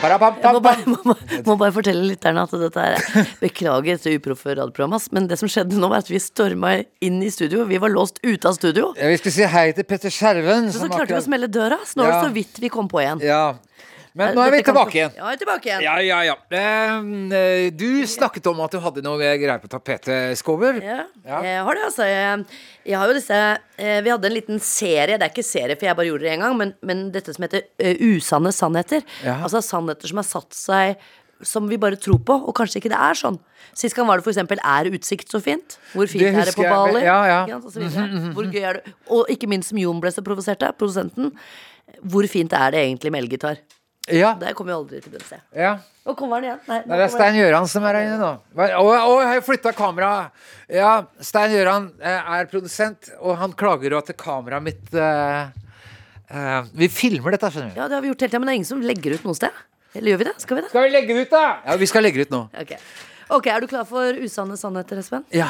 S2: Parapam,
S3: Jeg må
S2: pam,
S3: bare,
S2: pam.
S3: må, bare- må bare fortelle lytterne at dette er Beklager dette uproffe radioprogrammet, ass, men det som skjedde nå, var at vi storma inn i studio. Vi var låst ute av studio.
S2: Ja, vi skulle si hei til Petter Skjerven.
S3: Så,
S2: som
S3: så klarte vi
S2: akkurat-
S3: å smelle døra. Så nå var det
S2: Ja.
S3: så vidt vi kom på igjen.
S2: Ja. Men nå er vi
S3: Dette kan-
S2: tilbake igjen.
S3: Ja, vi er tilbake igjen.
S2: Ja, ja, ja. Ehm, eh, Du snakket om at du hadde noe greier på tapetet, Skåber.
S3: Ja,
S2: Ja.
S3: Jeg har det, altså. Jeg, jeg har jo disse eh, Vi hadde en liten serie. Det er ikke serie, for jeg bare gjorde det én gang, men, men dette som heter eh, Usanne sannheter.
S2: Ja.
S3: Altså sannheter som har satt seg som vi bare tror på, og kanskje ikke det er sånn. Sist gang var det for eksempel Er utsikt så fint? Hvor fint
S2: Det
S3: er det på
S2: husker jeg,
S3: Bali?
S2: ja, ja.
S3: Ikke sant, og så videre. Hvor gøy er det? Og ikke minst som Jon ble så provosert av, produsenten. Hvor fint er det egentlig med elgitar?
S2: Ja,
S3: Det kommer jo aldri til å se.
S2: ja.
S3: Nå kommer han igjen. Nei, nå
S2: Nei,
S3: kommer han.
S2: det er Stein Gjøran som er her inne nå. Hva- Å, å, jeg har flytta kameraet! Ja, Stein Gjøran eh, er produsent, og han klager over at kameraet mitt eh, eh, Vi filmer dette, skjønner du.
S3: Ja, det har vi gjort hele tiden, men det er ingen som legger ut noe sted. Eller gjør vi det? Skal vi det?
S2: Skal vi legge det ut, da? Ja, vi skal legge det ut nå.
S3: Ok, Ok, Er du klar for usanne sannheter, Espen?
S2: Ja.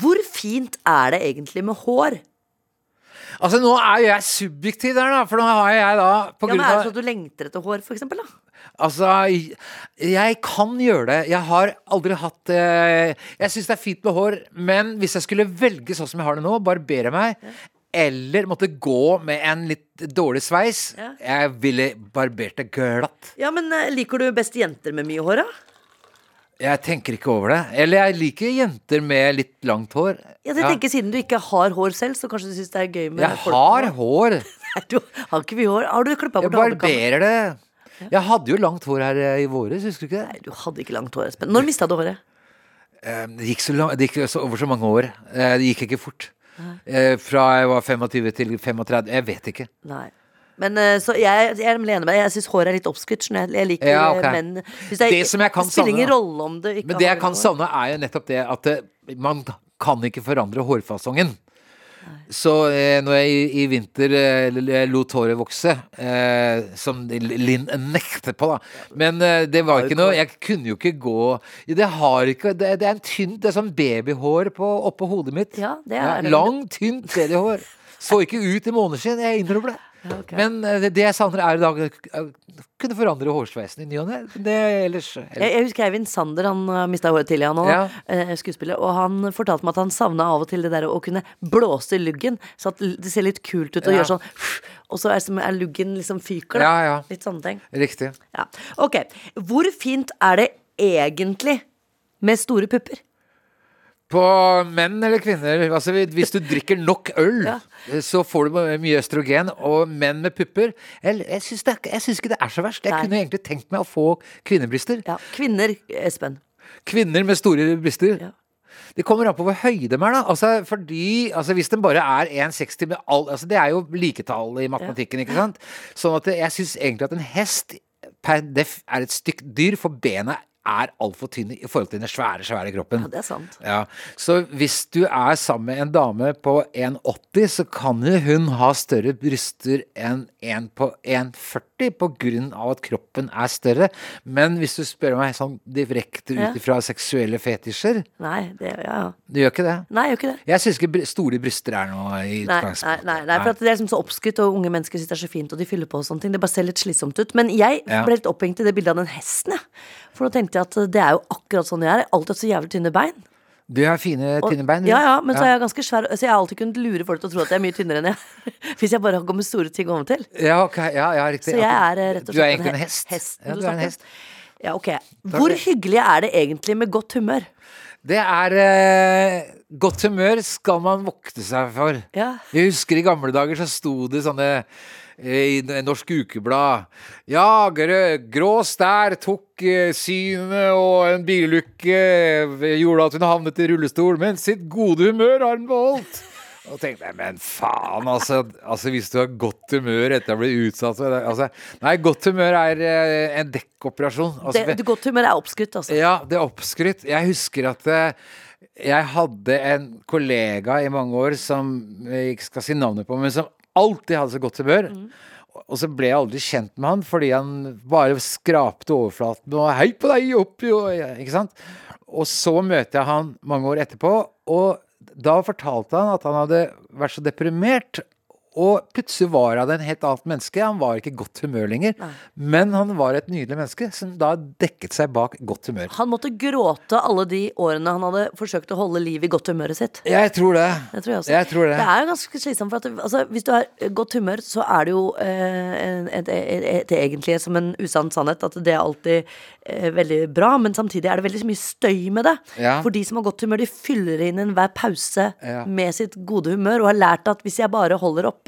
S3: Hvor fint er det egentlig med hår?
S2: Altså, nå er jo jeg subjektiv der, da, for nå har jeg da på
S3: Ja, men Er
S2: grunn
S3: det
S2: av
S3: sånn at du lengter etter hår, for eksempel? Da?
S2: Altså, jeg- jeg kan gjøre det. Jeg har aldri hatt eh, Jeg syns det er fint med hår, men hvis jeg skulle velge sånn som jeg har det nå, barbere meg, eller måtte gå med en litt dårlig sveis,
S3: Ja.
S2: jeg ville barbert det glatt.
S3: Ja, men eh, Liker du best jenter med mye hår, da?
S2: Jeg tenker ikke over det. Eller jeg liker jenter med litt langt hår.
S3: Ja, jeg tenker Siden du ikke har hår selv, så kanskje du syns det er gøy med
S2: jeg
S3: folk
S2: har
S3: med
S2: hår.
S3: Nei, du har ikke mye hår. Har du klippa
S2: Jeg
S3: bort hadekammen?
S2: barberer det. Jeg hadde jo langt hår her eh, i våres, husker du ikke det?
S3: Nei, du hadde ikke langt hår, Espen. Når mista du håret?
S2: Eh, Det gikk, så lang, det gikk så over så mange år. Eh, Det gikk ikke fort. Eh, Fra jeg var 25 til 35. Jeg vet ikke.
S3: Nei. Men eh, så jeg, jeg er nemlig enig med deg. Jeg syns håret er litt oppskrytt. skjønner Jeg, jeg liker eh,
S2: Ja, ok.
S3: menn Hvis
S2: Det som jeg kan
S3: Det spiller
S2: savne,
S3: ingen
S2: da.
S3: rolle om du ikke
S2: Men det
S3: har
S2: jeg kan
S3: hår.
S2: savne, er jo nettopp det at eh, man kan ikke forandre hårfasongen. Så eh, når jeg i, i vinter eh, l- l- lot håret vokse, eh, som L- Linn nekter på, da Men eh, det var ikke noe Jeg kunne jo ikke gå Ja, Det har ikke Det, det er en tynt Det er sånn babyhår på, oppå hodet mitt.
S3: Ja, det er det.
S2: lang, tynt babyhår. Så ikke ut i måneskinn, jeg innrømmer det.
S3: Ja, ok.
S2: Men eh, det det jeg savner, er i dag å kunne forandre hårsveisen i ny og ne. Det ellers, eh, ellers
S3: Jeg, jeg husker Eivind Sander, han mista håret tidlig, han òg.
S2: Ja.
S3: eh, Skuespiller. Og han fortalte meg at han savna av og til det der å kunne blåse i luggen. Så at l- det ser litt kult ut å
S2: Ja.
S3: gjøre sånn. Og så er, som- er luggen liksom fyker, da.
S2: Ja, ja.
S3: Litt sånne ting.
S2: Riktig.
S3: Ja. Ok. Hvor fint er det egentlig med store pupper?
S2: På menn eller kvinner? Altså, hvis du drikker nok øl,
S3: Ja.
S2: så får du mye østrogen. Og menn med pupper Jeg, jeg syns det er- jeg syns ikke det er så verst. Jeg
S3: Nei.
S2: kunne egentlig tenkt meg å få kvinnebryster.
S3: Ja. Kvinner, Espen.
S2: Kvinner med store bryster.
S3: Ja.
S2: Det kommer an på hvor høye de er, da. Altså, fordi, altså, hvis den bare er 1,60 med all altså, Det er jo liketall i matematikken, ikke sant? Sånn at jeg syns egentlig at en hest per def er et stykk dyr, for bena er altfor tynne i forhold til den svære, svære kroppen.
S3: Ja, det er sant.
S2: Ja, Så hvis du er sammen med en dame på 1,80, så kan jo hun ha større bryster enn en på 1,40 på grunn av at kroppen er større. Men hvis du spør meg sånn direkte
S3: Ja.
S2: ut ifra seksuelle fetisjer,
S3: Nei, det ja, ja.
S2: det gjør ikke det.
S3: Nei, gjør ikke det.
S2: Jeg syns ikke br- store bryster er noe
S3: Nei,
S2: i
S3: nei,
S2: utgangspunktet.
S3: nei, nei, for at det er liksom så oppskrytt, og unge mennesker syns det er så fint, og de fyller på og sånne ting. Det bare ser litt slitsomt ut. Men jeg
S2: Ja.
S3: ble litt opphengt i det bildet av den hesten, jeg. For nå tenkte jeg at eh, det er jo akkurat sånn jeg er. Jeg har Alltid hatt så jævlig tynne bein.
S2: Du har fine,
S3: Og-
S2: tynne bein. du.
S3: Ja, ja, men så er jeg ganske svær, så jeg har alltid kunnet lure folk til å tro at jeg er mye tynnere enn jeg *laughs* er. Hvis jeg bare har kommet store ting oventil.
S2: Ja, ok, ja, ja, riktig.
S3: Så jeg
S2: Ok.
S3: er eh, rett og slett
S2: Du er egentlig en hest.
S3: Hesten,
S2: ja,
S3: du
S2: du er
S3: snakker
S2: en
S3: om.
S2: hest.
S3: Ja, ok. Hvor hyggelig er det egentlig med godt humør?
S2: Det er eh, Godt humør skal man vokte seg for.
S3: Ja.
S2: Jeg husker i gamle dager så sto det sånne eh, i N- Norsk Ukeblad Ja, grø, grå stær tok eh, synet, og en bilulykke Eh, gjorde at hun havnet i rullestol, men sitt gode humør har hun beholdt. Og tenkte jeg, men faen, altså, altså hvis du har godt humør etter å ha blitt utsatt for det altså, Nei, godt humør er eh, en dekkoperasjon. Altså,
S3: Det, det godt humør er oppskrytt, altså.
S2: ja, det er oppskrytt. Jeg husker at eh, jeg hadde en kollega i mange år som eh, jeg ikke skal si navnet på, men som alltid hadde så godt humør. Og så ble jeg aldri kjent med han fordi han bare skrapte overflaten og 'hei på deg, opp jo', ikke sant. Og så møter jeg han mange år etterpå, og da fortalte han at han hadde vært så deprimert. Og plutselig var han en helt annet menneske. Han var ikke i godt humør lenger. Men han var et nydelig menneske som da dekket seg bak godt humør.
S3: Han måtte gråte alle de årene han hadde forsøkt å holde liv i godt humøret sitt.
S2: Jeg tror det.
S3: Det tror jeg også.
S2: Jeg tror det.
S3: Det er jo ganske slitsomt. For at, altså, hvis du har eh, godt humør, så er det jo eh, en- et, et, et egentlig som en usann sannhet at det er alltid eh, veldig bra, men samtidig er det veldig mye støy med det.
S2: Ja.
S3: For de som har godt humør, de fyller inn enhver pause
S2: Ja.
S3: med sitt gode humør og har lært at hvis jeg bare holder oppe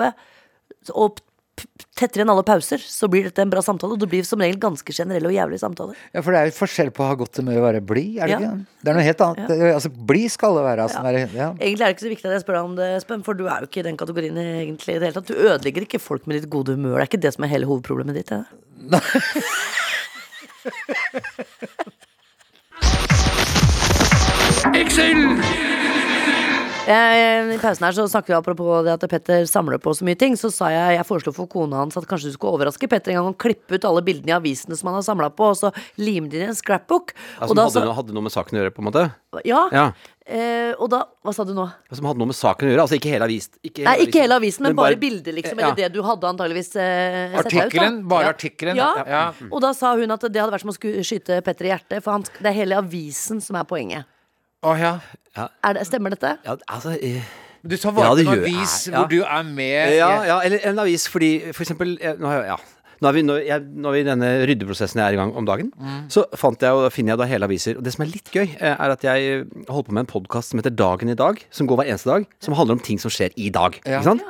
S3: og p- tettere enn alle pauser, så blir dette en bra samtale. Og det blir som regel ganske generelle og jævlige samtaler.
S2: Ja, for det er jo forskjell på å ha godt humør og være blid, er det
S3: Ja.
S2: ikke? Det er noe helt annet. Altså, blid skal det være. Altså, være ja.
S3: Egentlig er det ikke så viktig at jeg spør deg om det, Espen, for du er jo ikke i den kategorien egentlig i det hele tatt. Du ødelegger ikke folk med ditt gode humør. Det er ikke det som er hele hovedproblemet ditt. er det? Jeg, I pausen her så snakker vi apropos det at Petter samler på så mye ting. Så sa jeg jeg foreslo for kona hans at kanskje du skulle overraske Petter en gang og klippe ut alle bildene i avisene som han har samla på, og så lime det inn i en scrapbook.
S5: Altså,
S3: og da,
S5: som hadde, noe- hadde noe med saken å gjøre, på en måte?
S3: sa- ja,
S5: Ja.
S3: eh, og da Hva sa du nå?
S5: Som hadde noe med saken å gjøre. Altså ikke hele avisen. Ikke
S3: Nei, ikke hele avisen, men, bare, bilder, liksom.
S5: Ja.
S3: Eller det du hadde antageligvis eh, sett deg ut, da.
S2: Artikkelen, bare
S3: Ja.
S2: artikkelen.
S3: Ja.
S2: Ja.
S3: Og da sa hun at det hadde vært som å skulle skyte Petter i hjertet, for han, sk- det er hele avisen som er poenget.
S2: Å, ja.
S3: Er det, stemmer dette?
S5: Ja, altså eh,
S2: Du tar vare
S5: Ja,
S2: på
S5: det
S2: en
S5: gjør jeg.
S2: avis
S5: Ja.
S2: hvor du er med.
S5: ja,
S2: i-
S5: ja, eller en avis fordi for eksempel eh, Nå, har jeg- ja. nå, er vi, nå, jeg, nå er vi i denne ryddeprosessen jeg er i gang om dagen.
S2: Mm.
S5: Så fant jeg, og da finner jeg da hele aviser. Og det som er litt gøy, eh, er at jeg eh, holder på med en podkast som heter Dagen i dag, som går hver eneste dag, som handler om ting som skjer i dag.
S2: Ja.
S5: Ikke sant?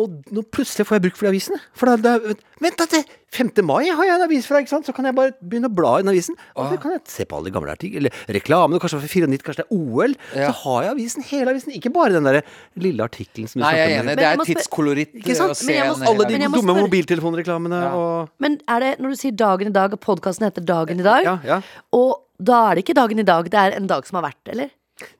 S5: Og nå plutselig får jeg bruk for de avisene. For da, da Vent, da, til 5. mai har jeg en avis fra, ikke sant? Så kan jeg bare begynne å bla i den avisen.
S2: Ah.
S5: Og så kan jeg se på alle de gamle artikler, eller reklamene, kanskje for 94, kanskje det er OL.
S2: Ja.
S5: Så har jeg avisen, hele avisen, ikke bare den derre lille artikkelen som du
S2: Nei, jeg er
S5: snakker om.
S2: enig.
S3: Men
S2: Det
S3: jeg
S2: er
S3: må spør-
S2: tidskoloritt eh,
S5: Ikke sant?
S2: å se
S3: Men jeg må-
S2: en hel
S5: Alle
S2: avis.
S5: de
S3: Men jeg må
S5: dumme
S3: spørre-
S5: mobiltelefonreklamene og
S3: Men er det, når du sier dagen i dag, og podkasten heter Dagen i dag,
S5: Ja, ja.
S3: og da er det ikke dagen i dag, det er en dag som har vært, eller?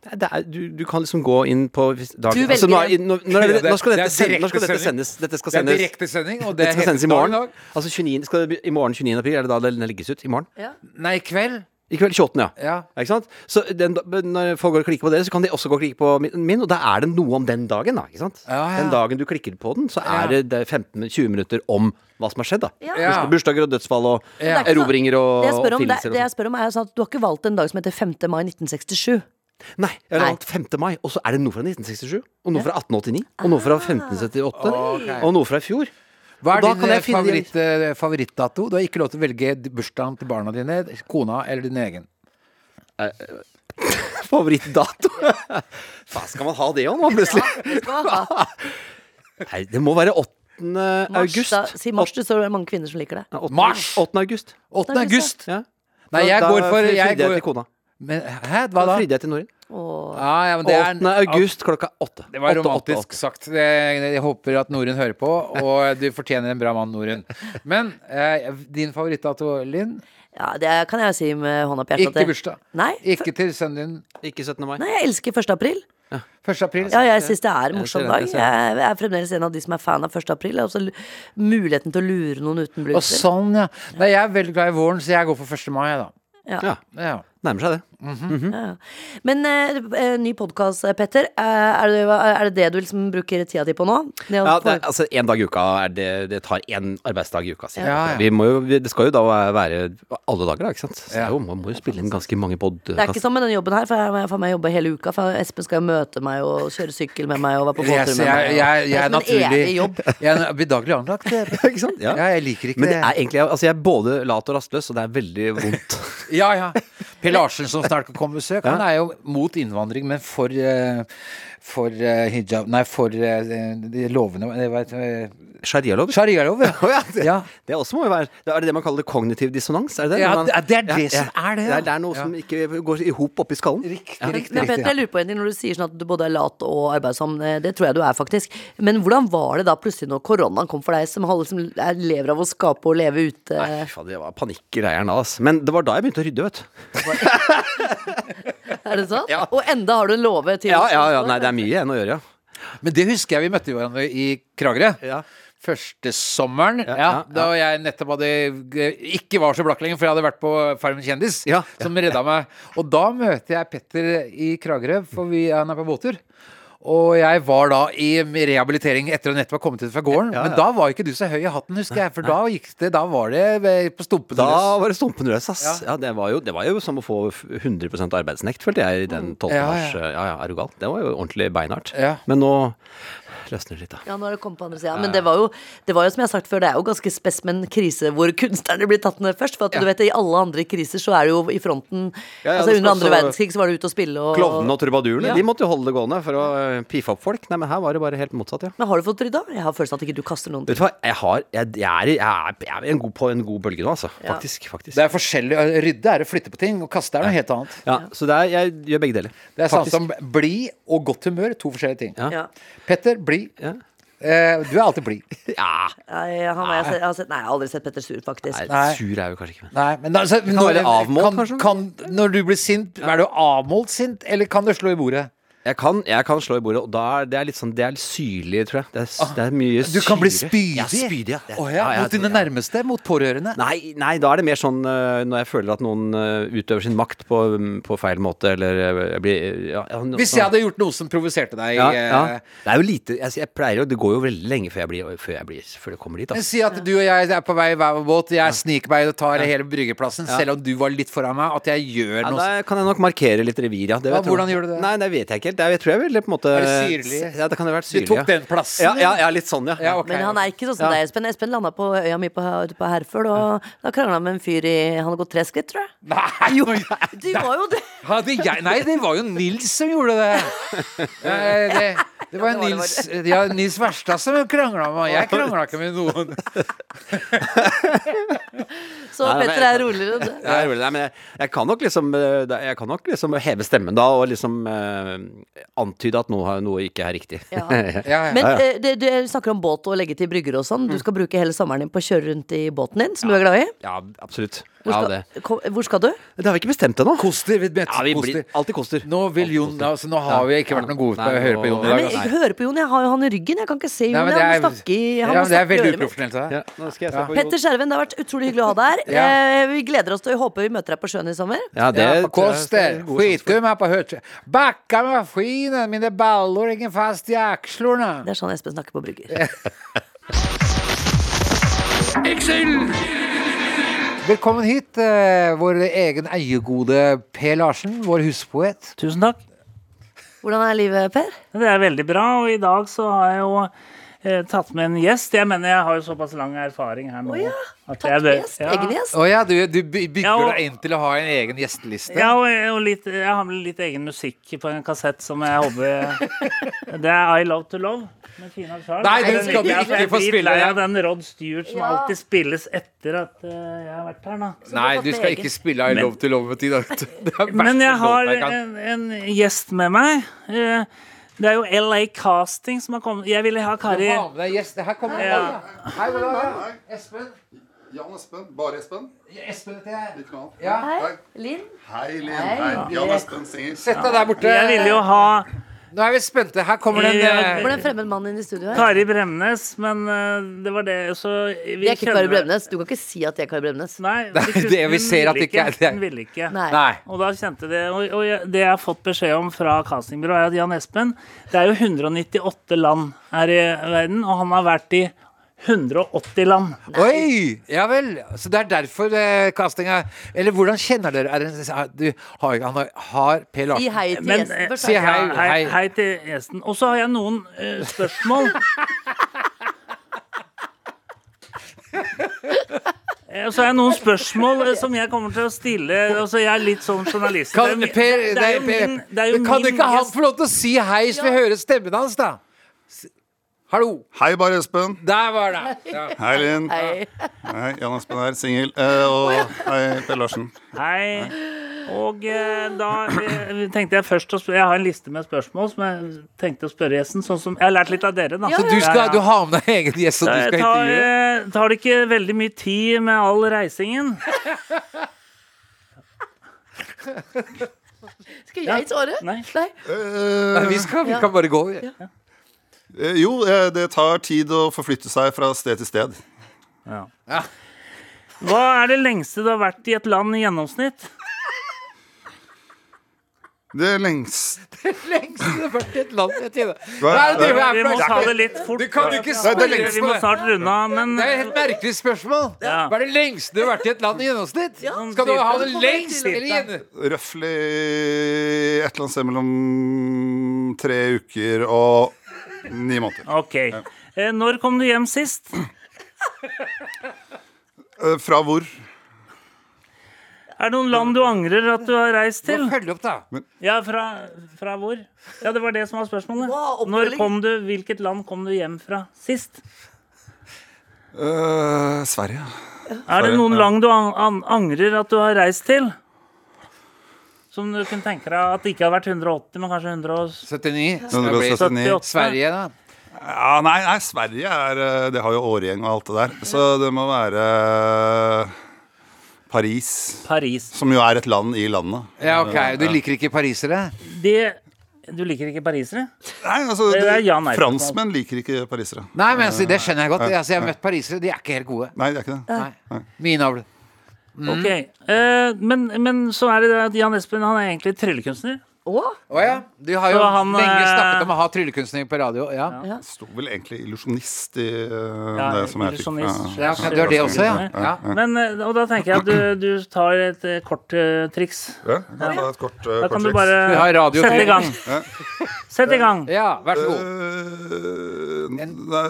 S5: Nei, det er, du, du kan liksom gå inn på hvis- dagen
S3: Du
S5: altså, nå,
S3: velger
S5: er- nå, nå, er det-
S2: Ja, *laughs* det-
S5: nå skal
S2: det er
S5: dette, send, nå skal dette
S2: direktesending.
S5: sendes. Dette skal
S2: Det er
S5: sendes.
S2: direktesending, og det
S5: Dette skal
S2: heter
S5: sendes i morgen.
S2: dag i dag.
S5: Altså 29, skal det, bli- I morgen 29. april, er det da den legges ut? I morgen?
S3: Ja.
S2: Nei, i kveld.
S5: I kveld 28. ja.
S2: Ja.
S5: Ikke sant? Så den, da- men når folk går og klikker på det, så kan de også gå og klikke på min- min, og da er det noe om den dagen, da. Ikke sant?
S2: Ja, ja.
S5: Den dagen du klikker på den, så
S2: Ja.
S5: er det- det er 15-20 minutter om hva som har skedd, da.
S3: Ja.
S2: Ja.
S5: Burs- Bursdager og dødsfall og
S2: Ja.
S3: Det er ikke så-
S5: erobringer og
S3: Det jeg, spør om, det,
S5: oppfinnelser og
S3: det jeg
S5: sånn.
S3: spør om, er sånn at du har ikke valgt en dag som heter 5. mai 1967.
S5: Nei, jeg har
S3: Nei.
S5: valgt 5. mai, og så er det noe fra 1967, og noe fra 1889, og noe fra
S3: Ah.
S5: 1578,
S2: Ok.
S5: og noe fra i fjor.
S2: Hva
S5: Og
S2: er
S5: da
S2: din
S5: kan jeg
S2: eh,
S5: finne-
S2: favoritt, eh, favorittdato? Du har ikke lov til å velge d- bursdagen til barna dine, kona eller din egen.
S3: *laughs*
S5: Favorittdato. Faen, skal man ha det òg nå, plutselig? Nei, det må være 8.
S3: Mars,
S5: august.
S3: da, si mars, du, så er det mange kvinner som liker det.
S5: Åttende-
S2: Mars!
S5: 8. august.
S2: 8. august!
S5: Ja.
S2: Nei, jeg
S5: Da-
S2: går
S5: da
S2: for
S5: fri-
S2: jeg
S5: frydde jeg
S2: går,
S5: til kona.
S2: men, Hæ, hva da? Ah,
S5: Da frydde jeg til Norge.
S3: Åh.
S2: Ja, ja, men det er
S5: 8. august klokka 8.
S2: Det var romantisk sagt. Det, jeg håper at Norun hører på, og du fortjener en bra mann, Norun. Men eh, din favorittdato, Linn?
S3: Ja, det kan jeg si med hånda på hjertet. at
S2: Ikke
S3: det-
S2: bursdag.
S3: Nei,
S2: Ikke til sønnen din.
S5: Ikke 17. mai.
S3: nei, jeg elsker 1. april.
S2: 1. april.
S3: Ja, jeg syns det er en morsom
S5: ser
S3: dag.
S5: den, jeg ser
S3: Jeg er fremdeles en av de som er fan av 1. april. Altså l- muligheten til å lure noen uten
S2: Og
S3: bluser.
S2: sånn, ja. Nei, jeg er veldig glad i våren, så jeg går for 1. mai, da.
S5: Ja,
S2: Ja.
S5: nærmer seg det.
S3: Ja. Men eh, eh, ny podkast, Petter. Eh, er, det, er det det du liksom bruker tida di på nå? Det å
S5: Ja,
S3: få-
S5: det, er- altså En dag i uka er det Det tar én arbeidsdag i uka. sier jeg.
S2: Ja, ja.
S5: Vi må jo, vi- det skal jo da være alle dager, da. ikke sant? Så det er
S2: Ja.
S5: jo, man må jo spille inn ganske mange
S3: det er ikke
S5: podkaster.
S3: sånn med denne jobben her, for jeg må faen meg jobbe hele uka. For Espen skal jo møte meg og kjøre sykkel med meg og være på båttur
S2: Jeg,
S3: med meg.
S2: jeg, jeg, jeg
S3: det
S2: er
S3: er som en evig
S2: naturlig
S3: jobb.
S2: Jeg er bedagelig anlagt.
S3: *laughs*
S2: eh. jeg.
S5: Ikke sant?
S2: Ja,
S5: Ja.
S2: jeg liker ikke
S5: Men det
S2: det.
S5: er egentlig Altså, jeg er både lat og rastløs, og det er veldig *laughs* vondt.
S2: Ja, ja. *laughs* Per Larsen som snart kan komme på besøk, han er jo mot innvandring, men for, eh, for eh, hijab Nei, for eh, de lovene eh, hva heter det?
S5: Sharialov?
S2: Sharialov, ja.
S5: ja, det,
S2: *laughs* Ja.
S5: det også må jo være det Er det det man kaller kognitiv dissonans? Er det det?
S2: Ja,
S5: Når man,
S2: det er det som er det,
S5: Det
S2: ja.
S5: er, det er noe som ikke går i hop oppi skallen.
S2: Riktig,
S5: Ja.
S2: riktig.
S3: Men
S2: riktig,
S3: Petter, jeg lurer på en ting når du sier sånn at du både er lat og arbeidsom. eh, Det tror jeg du er, faktisk. Men hvordan var det da plutselig når koronaen kom for deg, som har liksom er- lever av å skape og leve ute?
S5: Nei, fy faen, det var panikkgreier da, ass. Men det var da jeg begynte å rydde, vet du.
S3: *laughs* Er det sant? Og enda har du en låve til.
S5: Ja, ja, ja. Nei, det er mye igjen å gjøre, ja.
S2: ja. Men det husker jeg vi møtte hverandre i Kragerø.
S5: Ja.
S2: Første sommeren, ja,
S5: ja,
S2: da jeg nettopp hadde ikke var så blakk lenger, for jeg hadde vært på Farmen kjendis,
S5: Ja.
S2: som redda meg. Og da møter jeg Petter i Kragerø, for vi, han er på båttur. Og jeg var da i rehabilitering etter å nettopp ha kommet ut fra gården.
S5: Ja, ja.
S2: Men da var ikke du så høy i hatten, husker jeg. For da gikk det, da var det på stumpene
S5: Da var det stumpen løs, ass. Ja. det, var jo, det var jo som å få 100 arbeidsnekt, følte jeg, i den 12.
S2: Mm. Ja, ja.
S5: mars. Ja, ja, er du gal? Det var jo ordentlig beinhardt.
S2: Ja.
S5: Men nå løsner litt, da.
S3: Ja, nå er det kommet på andre siden. Men det var, jo, det var jo som jeg har sagt før, det er jo ganske spes med en krise hvor kunstnerne blir tatt ned først. For at du vet, i alle andre kriser så er det jo i fronten
S5: Ja, ja,
S3: Altså
S5: det
S3: under
S5: skal
S3: andre
S5: også-
S3: verdenskrig så var det ute og spille og
S5: Klovnene og trubadurene
S3: Ja.
S5: de måtte jo holde det gående for å eh, piffe opp folk. Nei, men her var det bare helt motsatt, ja.
S3: Men har du fått rydda? Jeg har følelsen av at ikke du kaster noen ting.
S5: Vet du hva, jeg, har, jeg, jeg, er, i- jeg, er, jeg er en god, på en god bølge nå, altså.
S3: Ja.
S5: Faktisk. faktisk.
S2: Det er forskjellig. å Rydde er å flytte på ting, og kaste er noe helt annet.
S5: Ja, så det er, jeg gjør begge deler.
S2: Det er samme
S5: Faktisk.
S2: som blid og godt humør. To forskjellige ting.
S5: Ja.
S3: Ja.
S2: Petter, blid.
S5: Ja.
S2: Eh, du er alltid blid.
S5: Ja,
S3: Nei, han har jeg, sett, jeg har sett, nei, jeg har aldri sett Petter sur, faktisk.
S5: nei,
S2: Nei.
S5: sur er jeg jo kanskje ikke, men
S2: Nei, men altså,
S5: kan være avmålt, kanskje?
S2: kan, når du blir sint, er du avmålt sint, eller kan du slå i bordet?
S5: jeg kan, jeg kan slå i bordet, og da er det er litt sånn Det er litt syrlig, tror jeg. Det er, s- det er mye syre.
S2: Ah. Du kan bli spydig.
S5: Jeg er spydig, ja. Det er-
S2: Å ja,
S5: ja, jeg
S2: mot dine
S5: tror- ja.
S2: nærmeste? Mot pårørende?
S5: Nei, nei, da er det mer sånn øh, når jeg føler at noen øh, utøver sin makt på, mm, på feil måte, eller øh, jeg blir øh, ja, ja, no-
S2: Hvis jeg hadde gjort noe som provoserte deg
S5: ja,
S2: eh,
S5: ja. Det er jo lite jeg, jeg pleier jo, Det går jo veldig lenge før jeg blir Før, jeg blir, før det kommer dit.
S2: Men
S5: Altså.
S2: Si at du og jeg er på vei i hver vår båt, jeg sniker meg og tar hele bryggeplassen, selv om du var litt foran meg, at jeg gjør
S5: Ja,
S2: noe
S5: da kan jeg nok markere litt revir, ja. Det
S2: Ja,
S5: vet jeg.
S2: hvordan gjør du det?
S5: Nei, det vet jeg ikke helt. Det er- Jeg tror jeg ville på en måte
S2: Er det syrlig?
S5: Ja, det kan jo være
S2: Du
S5: syrlig.
S2: tok
S5: ja.
S2: den plassen,
S5: Ja, ja,
S2: eller?
S5: ja litt sånn, ja.
S2: Ja, ok.
S3: Men han er ikke sånn som
S5: Ja.
S3: deg, Espen. Espen landa på øya mi på, på Herføl, og da krangla han med en fyr i Han har gått tre skritt, tror jeg.
S2: *laughs* Nei, jo.
S3: Du var jo
S2: *laughs*
S3: det!
S2: Hadde jeg, nei, det var jo Nils som gjorde det. Nei, det, det
S3: Ja,
S2: var
S3: det var det
S2: Nils, ja, Nils Verstad som krangla med meg. Jeg krangla ikke med noen.
S3: Så
S5: Nei, nei,
S3: Petter
S5: nei.
S3: er roligere enn det.
S5: Ja, det er rolig. Nei, men jeg, jeg, kan nok liksom, øh, da- jeg kan nok liksom heve stemmen da, og liksom øh, antyde at noe, har- noe ikke er riktig.
S3: Ja.
S2: Ja, Mm. ja.
S3: Men eh, det- du snakker om båt og legge til brygger og sånn. Du skal bruke hele sommeren din på å kjøre rundt i båten din, som du er glad i.
S5: *laughs* Ja, absolutt.
S3: Hvor
S5: Ja,
S3: skal,
S5: det.
S3: kom, hvor skal du?
S5: det har vi ikke bestemt ennå.
S2: Koster, vi vet,
S5: Ja, vi blir
S2: koster.
S5: alltid koster.
S2: Nå vil
S5: Alltid
S2: Jon
S5: koster.
S2: altså, Nå har vi ikke vært noe gode på å høre på Jon i
S5: Nei,
S2: dag.
S3: Men
S2: altså.
S3: jeg hører på Jon, jeg har jo han i ryggen. Jeg kan ikke se Jon.
S2: Nei, men
S3: jeg
S2: det
S3: må
S2: er,
S3: snakke i- han
S2: ja,
S3: må
S2: men det
S3: snakke
S2: er
S3: i
S2: veldig
S3: øret mitt.
S2: uprofesjonelt av deg.
S5: Ja, nå skal jeg se på Jon.
S3: Petter Skjerven, det har vært utrolig hyggelig å ha deg her.
S2: *laughs* Ja.
S3: Eh, vi gleder oss til og håper vi møter deg på sjøen i sommer.
S5: Ja, det
S2: ja, på Koster, skitgum här på Hurtig. Backa med maskinen, mina ballor hänger fast i axlarna.
S3: Det er sånn Espen snakker på brygger.
S2: Velkommen hit, eh, vår egen eiegode P. Larsen, vår huspoet.
S6: Tusen takk.
S3: Hvordan er livet, Per?
S6: Det er veldig bra. Og i dag så har jeg jo eh, tatt med en gjest. Jeg mener jeg har jo såpass lang erfaring her nå.
S3: Å ja,
S6: at
S3: Tatt
S6: jeg
S3: med
S6: bør-
S3: gjest?
S6: Ja.
S3: Egen gjest?
S2: Å ja, du, du by- bygger
S6: Ja, og-
S2: deg inn til å ha en egen gjesteliste.
S6: Ja, og, og litt, jeg har med litt egen musikk på en kassett som jeg håper
S3: *laughs*
S6: Det er I Love To Love med Tina Charles.
S2: Nei, den skal
S6: liker
S2: du
S6: jeg, for
S2: ikke
S6: jeg
S2: få
S6: er
S2: spille,
S6: dritlei
S2: ja.
S6: av Den Rod Stewart som
S3: Ja.
S6: alltid spilles etter at eh, jeg har vært her, da.
S2: Nei,
S3: du har
S2: du
S3: fått
S2: skal
S3: egen.
S2: ikke spille I Love to Love med Tina. *laughs* Det er verst
S6: Men jeg
S2: låt
S6: har eh,
S2: kan-
S6: en, en gjest med meg. Eh, Det er jo LA Casting som har kommet. Jeg ville ha
S2: Du
S6: Kari
S2: har med deg gjest. Her kommer
S6: Ja.
S2: Hei, god dag. ja. Espen.
S7: Jan Espen. Bare Espen.
S2: Espen heter jeg.
S7: Ditt navn.
S2: Ja.
S7: Hei.
S3: Linn?
S7: Hei, Linn. Hei. Jan Espen sier.
S2: Sett deg der
S6: Jeg ville jo
S2: borte.
S6: ha
S2: Nå er vi spente. Her kommer den.
S6: Ja.
S2: eh,
S3: Hvordan fremmed mann inn i studio her?
S6: Kari Bremnes, men eh, det var det Så vi
S3: Jeg er ikke
S6: kjenner-
S3: Kari Bremnes. Du kan ikke si at jeg er Kari Bremnes.
S2: *laughs*
S6: Nei,
S2: det vi ser at det ikke er-
S6: Hun ville ikke.
S3: Nei.
S2: Nei.
S6: Og da kjente det, og, og jeg, det jeg har fått beskjed om fra castingbyrået, er at Jan Espen Det er jo 198 land her i verden, og han har vært i 180 land.
S2: Oi! Ja vel. Så det er derfor eh, castinga Eller hvordan kjenner dere er det, er- du, har, han har, har
S3: Si
S2: Per Larsen
S3: hei til
S6: Men, eh,
S3: gjesten først.
S2: Si
S3: da.
S2: hei.
S6: Ja, hei, hei til gjesten. Og så har jeg noen eh, spørsmål. Eh, Og så har jeg noen spørsmål eh, som jeg kommer til å stille. Altså, jeg er litt sånn journalist.
S2: kan,
S6: Det er-
S2: per,
S6: det er
S2: nei,
S6: jo
S2: per,
S6: min- det er jo
S2: men Kan
S6: min
S2: ikke han
S6: gjest.
S2: få lov til å si hei, så vi hører stemmen hans, da? S- Hallo.
S7: Hei, Bare Espen.
S2: Der var det. Ja.
S7: Hei, Linn.
S3: Hei.
S7: Hei, Jan Espen her, singel. Eh, og hei, Per Larsen.
S6: Hei. Og eh, da eh, tenkte jeg først å spørre Jeg har en liste med spørsmål som jeg tenkte å spørre gjesten. Sånn som Jeg har lært litt av dere, da.
S2: Så du, skal, du har med deg egen gjest, og du skal
S6: tar,
S2: intervjue?
S6: eh, tar det ikke veldig mye tid med all reisingen?
S3: Skal jeg svare?
S6: Nei.
S7: Eh,
S2: Vi, skal, vi kan bare gå.
S7: eh, jo, eh, det tar tid å forflytte seg fra sted til sted.
S6: Hva er det lengste du har vært i et land i gjennomsnitt?
S7: Det lengst
S2: Lengst det har vært i et land jeg tjener.
S7: Hva-
S2: Nei, det er
S6: Vi må
S2: for-
S6: ta det litt fort.
S2: Du kan jo ikke
S6: Ja,
S2: spørre
S7: det er
S6: Vi må snart runde av, men
S2: Det er et helt merkelig spørsmål.
S6: Ja.
S2: Hva er det lengste du har vært i et land i gjennomsnitt? Skal du ha det lengst? Eller gjennom-
S7: røftlig et eller annet sted mellom tre uker og Ni måneder.
S6: Ok. Eh, Når kom du hjem sist?
S7: Eh, Fra hvor?
S6: Er det noen land du angrer at du har reist til?
S2: Følg opp, da.
S6: Ja, fra, fra hvor? Ja, det var det som var spørsmålet.
S3: Wow, oppfølging.
S6: Når kom du, Hvilket land kom du hjem fra sist?
S7: Eh, Sverige.
S6: Er det
S7: Sverige,
S6: noen
S7: ja.
S6: land du an an angrer at du har reist til? Som du kunne tenke deg at det ikke hadde vært 180, men kanskje
S2: 79. Så
S6: 178?
S2: det blir
S7: 179.
S6: 78.
S2: Sverige, da.
S7: Ja, nei, nei, Sverige er eh, Det har jo årgjeng og alt det der. Så det må være eh, Paris.
S6: Paris.
S7: Som jo er et land i landet.
S2: Ja, ok. Du liker ikke parisere?
S6: Det Du liker ikke parisere?
S7: Nei, altså,
S6: Det er ja, nei,
S7: Franskmenn liker ikke parisere.
S2: Nei, men altså, det skjønner jeg godt. Altså, jeg har møtt parisere, de er ikke helt gode.
S7: Nei, det er ikke det.
S2: Nei. Min avl. Mm.
S6: Ok. Eh, men, men så er det det at Jan Espen han er egentlig tryllekunstner.
S3: Å,
S2: Å ja. Du har jo
S6: Så han,
S2: lenge
S6: eh,
S2: snakket om å ha tryllekunstner på radio. Ja.
S7: Sto vel egentlig illusjonist i eh,
S6: Ja,
S7: det som jeg fikk.
S6: illusjonist.
S2: Ja, ok, du har det også, ja. ja.
S6: Men, eh, og da tenker jeg at du, du tar et eh, kort eh, triks.
S7: Ja, jeg kan ta et kort, eh,
S6: Da
S7: kort
S6: kan du
S7: triks.
S2: Vi har
S6: bare
S2: radio.
S6: sette i gang. Sett i gang.
S2: Ja, vær så god.
S7: Eh, nei,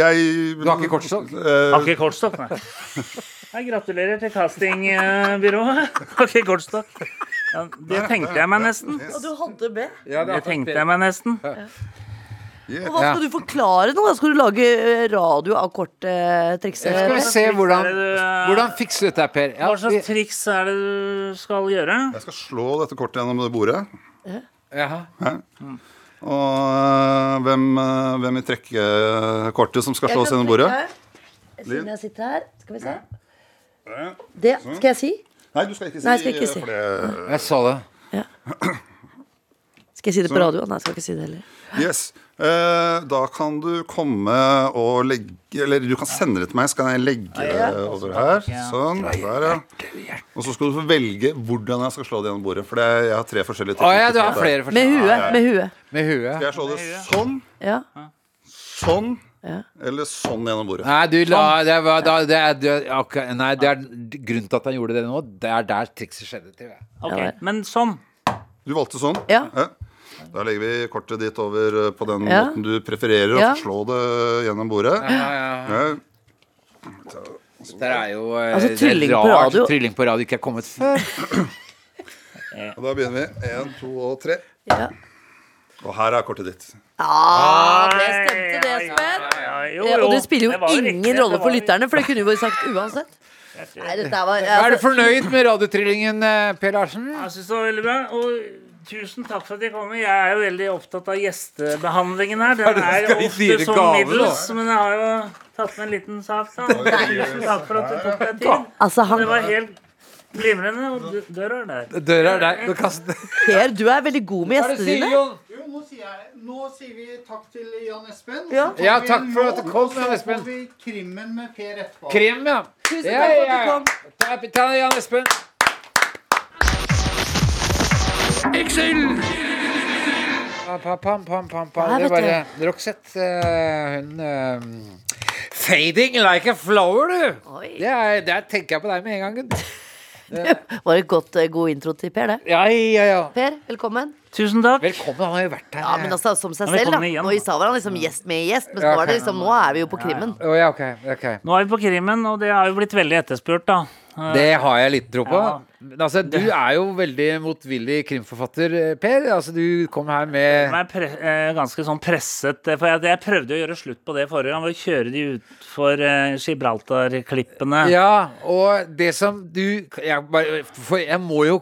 S7: jeg
S2: Du har ikke kortstokk?
S7: Eh,
S6: Har ikke kortstokk, nei. nei. Gratulerer til castingbyrået. Har ikke kortstokk. Ja, det tenkte jeg meg nesten.
S3: og du hadde med.
S6: Det tenkte jeg meg nesten.
S3: Og hva skal du forklare nå? da? Skal du lage eh, radio av kort eh, triks?
S2: Ja, Skal vi se hvordan, hvordan fikser du dette, her, Per? Ja,
S6: eh, Hva slags
S2: vi,
S6: triks er det du skal gjøre?
S7: Jeg skal slå dette kortet gjennom det bordet.
S2: Jaha.
S7: Og eh, hvem, eh, hvem vil trekke eh, kortet som skal
S3: Jeg
S7: slås
S3: kan
S7: gjennom bordet?
S3: trekke her, Siden jeg sitter her. Skal vi se.
S7: Ja.
S3: Det
S6: Sånn.
S3: skal jeg si.
S7: Nei, du skal ikke si,
S3: Nei, jeg skal ikke
S7: eh,
S3: si.
S7: for det-
S2: jeg så det.
S3: Skal jeg si det på radio? Nei, jeg skal ikke si det heller.
S7: Yes. Eh, da kan du komme og legge Eller du kan sende det til meg, så kan jeg legge det over her. Sånn. Der, ja. Og så skal du få velge hvordan jeg skal slå det gjennom bordet. For det er, jeg har tre forskjellige
S2: Å ja,
S7: teknikker.
S2: du har
S7: for det.
S2: flere
S3: Med
S2: forskjellige.
S3: huet. Med huet.
S2: Med huet.
S7: Skal jeg slå det sånn,
S3: Ja.
S7: sånn
S3: Ja.
S7: eller sånn gjennom bordet?
S2: Nei, du la Det, var, da, det, er, du- ok, nei, det er grunnen til at han gjorde det nå. Det er der trikset skjedde. Til, jeg.
S6: Ok,
S3: Ja,
S6: Men sånn.
S7: Du valgte sånn?
S3: Ja.
S7: Da legger vi kortet ditt over eh, på den
S3: Ja.
S7: måten du prefererer, og
S3: Ja.
S7: så slå det gjennom bordet. Ja.
S2: Det er jo eh,
S3: Altså,
S2: det er
S3: trylling på
S2: rart
S3: radio.
S2: Trylling på radio ikke er kommet før.
S7: Og da begynner vi. Én, to og tre.
S3: Ja.
S7: Og her er kortet ditt.
S3: Ah, det stemte, det,
S6: Ai, ai,
S3: Espen.
S6: ai, ai. Jo,
S3: Eh,
S6: jo,
S3: Og det spiller jo
S6: det var riktig,
S3: ingen rolle
S6: det
S3: for
S6: var riktig.
S3: lytterne, for det kunne vi jo sagt uansett. Nei, dette var
S2: Er du
S3: altså,
S2: fornøyd med radiotrillingen, eh, Per Larsen?
S6: Jeg synes det var veldig bra. Og tusen takk for at jeg kommer. Jeg er jo veldig opptatt av gjestebehandlingen her. Den er
S2: skal gi
S6: ofte
S2: dyre
S6: som
S2: gaver,
S6: middels, men jeg har jo tatt med en liten sak. Da. Tusen takk for at du tok deg tid.
S3: altså, han
S6: Det var helt glimrende. Og dø- døra er der.
S2: Døra er der. Du kaster
S3: Per, du er veldig god med gjestene dine.
S8: Jo, nå sier, jeg, nå sier vi takk til Jan Espen.
S3: Ja.
S8: Så får
S2: Ja,
S8: vi
S2: takk
S8: en
S2: for at
S8: låt,
S2: du kom,
S8: og så
S2: Jan Espen.
S8: får vi krimmen med Per etterpå.
S2: Krim, ja.
S3: Tusen takk for at du kom.
S2: Ta, ta den, Jan Espen. Excel! Pam, pam, pam, pam, pam.
S3: Nei,
S2: Det
S3: vet
S2: var eh, Roxette. eh, hun eh, Fading like a flower, du!
S3: Oi.
S2: Det er, der tenker jeg på deg med en gang. Gunn.
S3: Var det godt, eh, god intro til Per, det.
S2: Ja, ja, ja.
S3: Per, velkommen.
S6: Tusen takk.
S2: Velkommen, han har jo vært her.
S3: Ja, men altså som seg
S6: Ja,
S3: selv, da.
S6: velkommen igjen,
S3: Og i stad var han liksom gjest med gjest, men
S2: Ja,
S3: nå er, det
S2: ok.
S3: liksom, nå er vi jo på krimmen.
S2: Å, ja, ok, ok.
S6: Nå er vi på krimmen, og det har jo blitt veldig etterspurt, da. Eh,
S2: Det har jeg litt tro på.
S6: Ja.
S2: Men Altså, du er jo veldig motvillig krimforfatter, eh, Per. Altså, du kom her med
S6: Jeg er pre eh, ganske sånn presset, eh, for jeg, jeg prøvde å gjøre slutt på det forrige gang ved å kjøre de utfor eh, Gibraltar-klippene.
S2: Ja, og det som du jeg, bare, for jeg må jo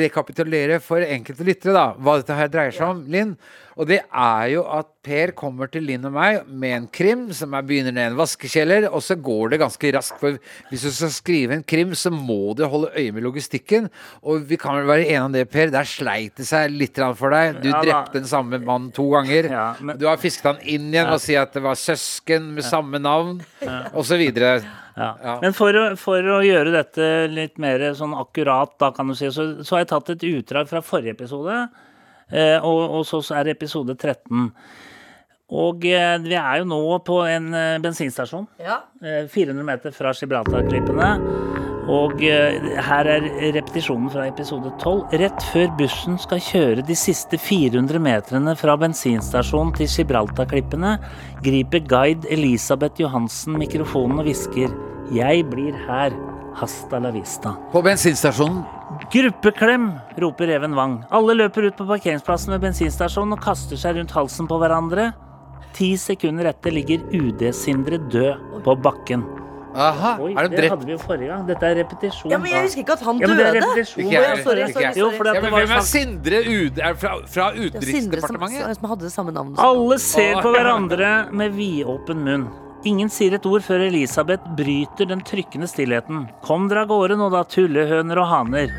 S2: rekapitulere for enkelte lyttere, da, hva dette her dreier seg om, Linn. Og det er jo at Per kommer til Linn og meg med en krim som er begynner ned i en vaskekjeller, og så går det ganske raskt. For hvis du skal skrive en krim, så må du holde øye med logistikken. Og vi kan vel være enige om det, Per. Der sleit det seg litt grann for deg. Du
S6: Ja, da.
S2: drepte den samme mannen to ganger.
S6: Ja, men-
S2: Du har fisket han inn igjen og sier at det var søsken med samme navn, og så videre.
S6: Ja.
S2: Ja.
S6: Men for å, for å gjøre dette litt mer sånn akkurat, da, kan du si, så, så har jeg tatt et utdrag fra forrige episode, eh, og, og så er det episode 13. Og eh, vi er jo nå på en eh, bensinstasjon,
S3: Ja.
S6: eh, 400 meter fra Gibraltar-klippene, Og eh, her er repetisjonen fra episode 12. Rett før bussen skal kjøre de siste 400 metrene fra bensinstasjonen til Gibraltarklippene, griper guide Elisabeth Johansen mikrofonen og hvisker 'Jeg blir her'. Hasta la vista.
S2: På bensinstasjonen.
S6: Gruppeklem! roper Even Wang. Alle løper ut på parkeringsplassen ved bensinstasjonen og kaster seg rundt halsen på hverandre. Ti sekunder etter ligger UD Sindre død på bakken.
S2: Aha,
S6: Oi,
S2: er de
S6: det
S2: drept?
S6: hadde vi jo forrige gang. Dette er repetisjon.
S3: Ja, men jeg husker ikke at han
S6: Ja, men det er
S3: døde.
S6: repetisjon.
S2: Ikke jeg.
S3: Å, ja, sorry,
S2: Ikke
S3: sorry,
S2: jeg.
S6: Jo, for
S3: sorry.
S6: det
S2: Ja,
S6: at
S2: men
S6: det var sånn-
S2: hvem
S6: jo
S2: er
S6: snakk-
S2: Sindre UD? Er det fra, fra
S3: Det var Sindre som,
S2: Utenriksdepartementet?
S3: som hadde det samme navnet.
S6: Alle ser
S2: Åh.
S6: på hverandre med vidåpen munn. Ingen sier et ord før Elisabeth bryter den trykkende stillheten. Kom dere av gårde nå, da, tullehøner og haner.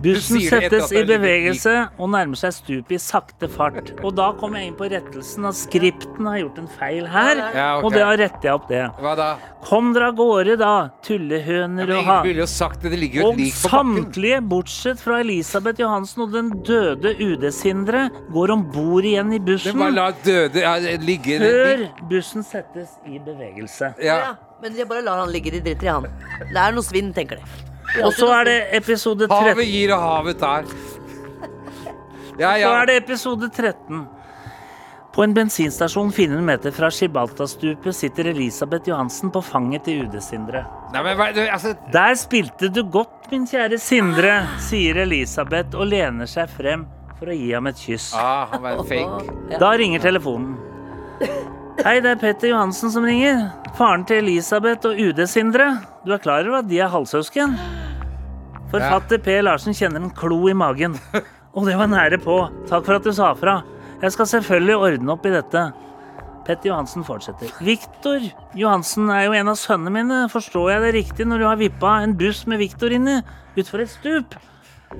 S6: Bussen
S2: Du sier det etter
S6: settes
S2: at det
S6: i
S2: er litt
S6: bevegelse og nærmer seg stupet i sakte fart. Og da kommer jeg inn på rettelsen at skripten har gjort en feil her,
S2: Ja, ok.
S6: og da retter jeg opp det.
S2: Hva da?
S6: Kom dere av gårde, da, tullehøner og
S2: Ingen
S6: haner.
S2: ville jo sagt det. Det ligger jo
S6: Og
S2: et lik på bakken.
S6: samtlige, bortsett fra Elisabeth Johansen og den døde UD-Sindre, går om bord igjen i
S2: Det
S6: bussen
S2: bare la døde ja, ligge
S6: før bussen settes i bevegelse.
S2: ja.
S3: Ja, men jeg bare lar han ligge, de driter i han. Det er noe svinn, tenker de.
S6: Og så er det episode 13.
S2: Havet gir og havet
S6: *laughs*
S2: tar. Ja,
S6: Så
S2: ja.
S6: er det episode 13. På en bensinstasjon 400 meter fra Gibraltarstupet sitter Elisabeth Johansen på fanget til UD-Sindre.
S2: Nei, men hva- du, altså,
S6: Der spilte du godt, min kjære Sindre, sier Elisabeth og lener seg frem for å gi ham et kyss.
S2: ah, han var en fake.
S6: Da ringer telefonen. Hei, det er Petter Johansen som ringer. Faren til Elisabeth og UD Sindre. Du er klar over at de er halvsøsken? Forfatter P. Larsen kjenner en klo i magen. Og det var nære på. Takk for at du sa fra. Jeg skal selvfølgelig ordne opp i dette. Petter Johansen fortsetter. Viktor Johansen er jo en av sønnene mine. Forstår jeg det riktig når du har vippa en buss med Viktor inni utfor et stup?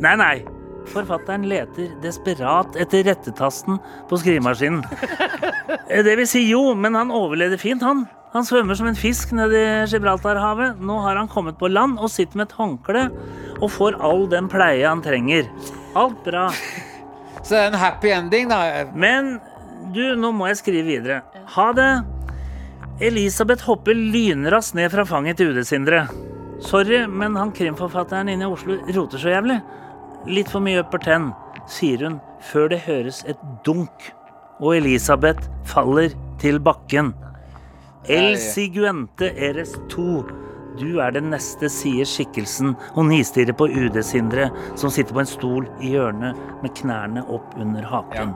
S6: Nei, nei. Forfatteren leter desperat etter rettetasten på skrivemaskinen. Eh, Det vil si jo, men han overlevde fint, han. Han svømmer som en fisk nede i Gibraltarhavet. Nå har han kommet på land og sitter med et håndkle og får all den pleie han trenger. Alt bra.
S2: Så det er en happy ending, da.
S6: Men du, nå må jeg skrive videre. Ha det. Elisabeth hopper lynraskt ned fra fanget til UD, Sindre. Sorry, men han krimforfatteren inne i Oslo roter så jævlig. Litt for mye upper ten, sier hun før det høres et dunk, og Elisabeth faller til bakken. El siguente eres to. Du er den neste, sier skikkelsen og nistirrer på UD Sindre, som sitter på en stol i hjørnet med knærne opp under haken.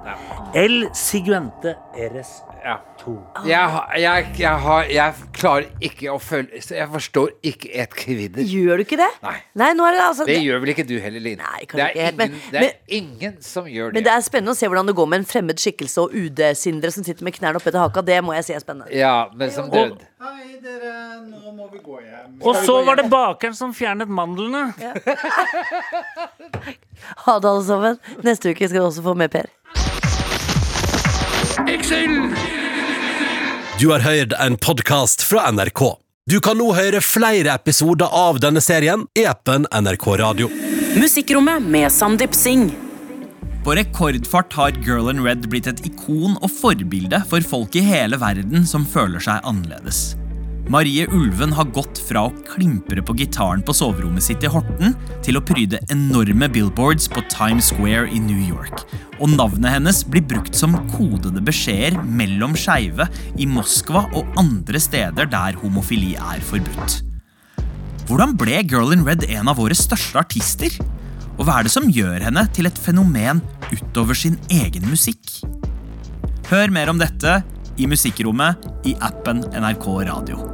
S6: El siguente eres
S2: Ja.
S6: to.
S2: Jeg, har- jeg, jeg, har, jeg klarer ikke å følge så Jeg forstår ikke et kvidder.
S3: Gjør du ikke det?
S2: Nei.
S3: nå er det altså
S2: Det gjør vel ikke du heller, Line?
S3: Nei, kanskje
S2: det, er
S3: ikke helt, men-
S2: ingen, det er ingen som gjør det.
S3: Men det er spennende å se hvordan det går med en fremmed skikkelse og UD-Sindre som sitter med knærne oppetter haka. Det må jeg si er spennende.
S2: Ja, men som død.
S8: Hei, dere. Nå må vi gå hjem.
S6: Og så var det bakeren som fjernet mandlene.
S3: Ha det, alle sammen. Neste uke skal du også få med Per.
S9: Du har hørt en podkast fra NRK. Du kan nå høre flere episoder av denne serien i appen NRK Radio.
S10: Musikkrommet med Sandeep Singh.
S11: På rekordfart har Girl in Red blitt et ikon og forbilde for folk i hele verden som føler seg annerledes. Marie Ulven har gått fra å klimpre på gitaren på soverommet sitt i Horten til å pryde enorme billboards på Times Square i New York. Og navnet hennes blir brukt som kodede beskjeder mellom skeive i Moskva og andre steder der homofili er forbudt. Hvordan ble Girl in Red en av våre største artister? Og hva er det som gjør henne til et fenomen utover sin egen musikk? Hør mer om dette i Musikkrommet i appen NRK Radio.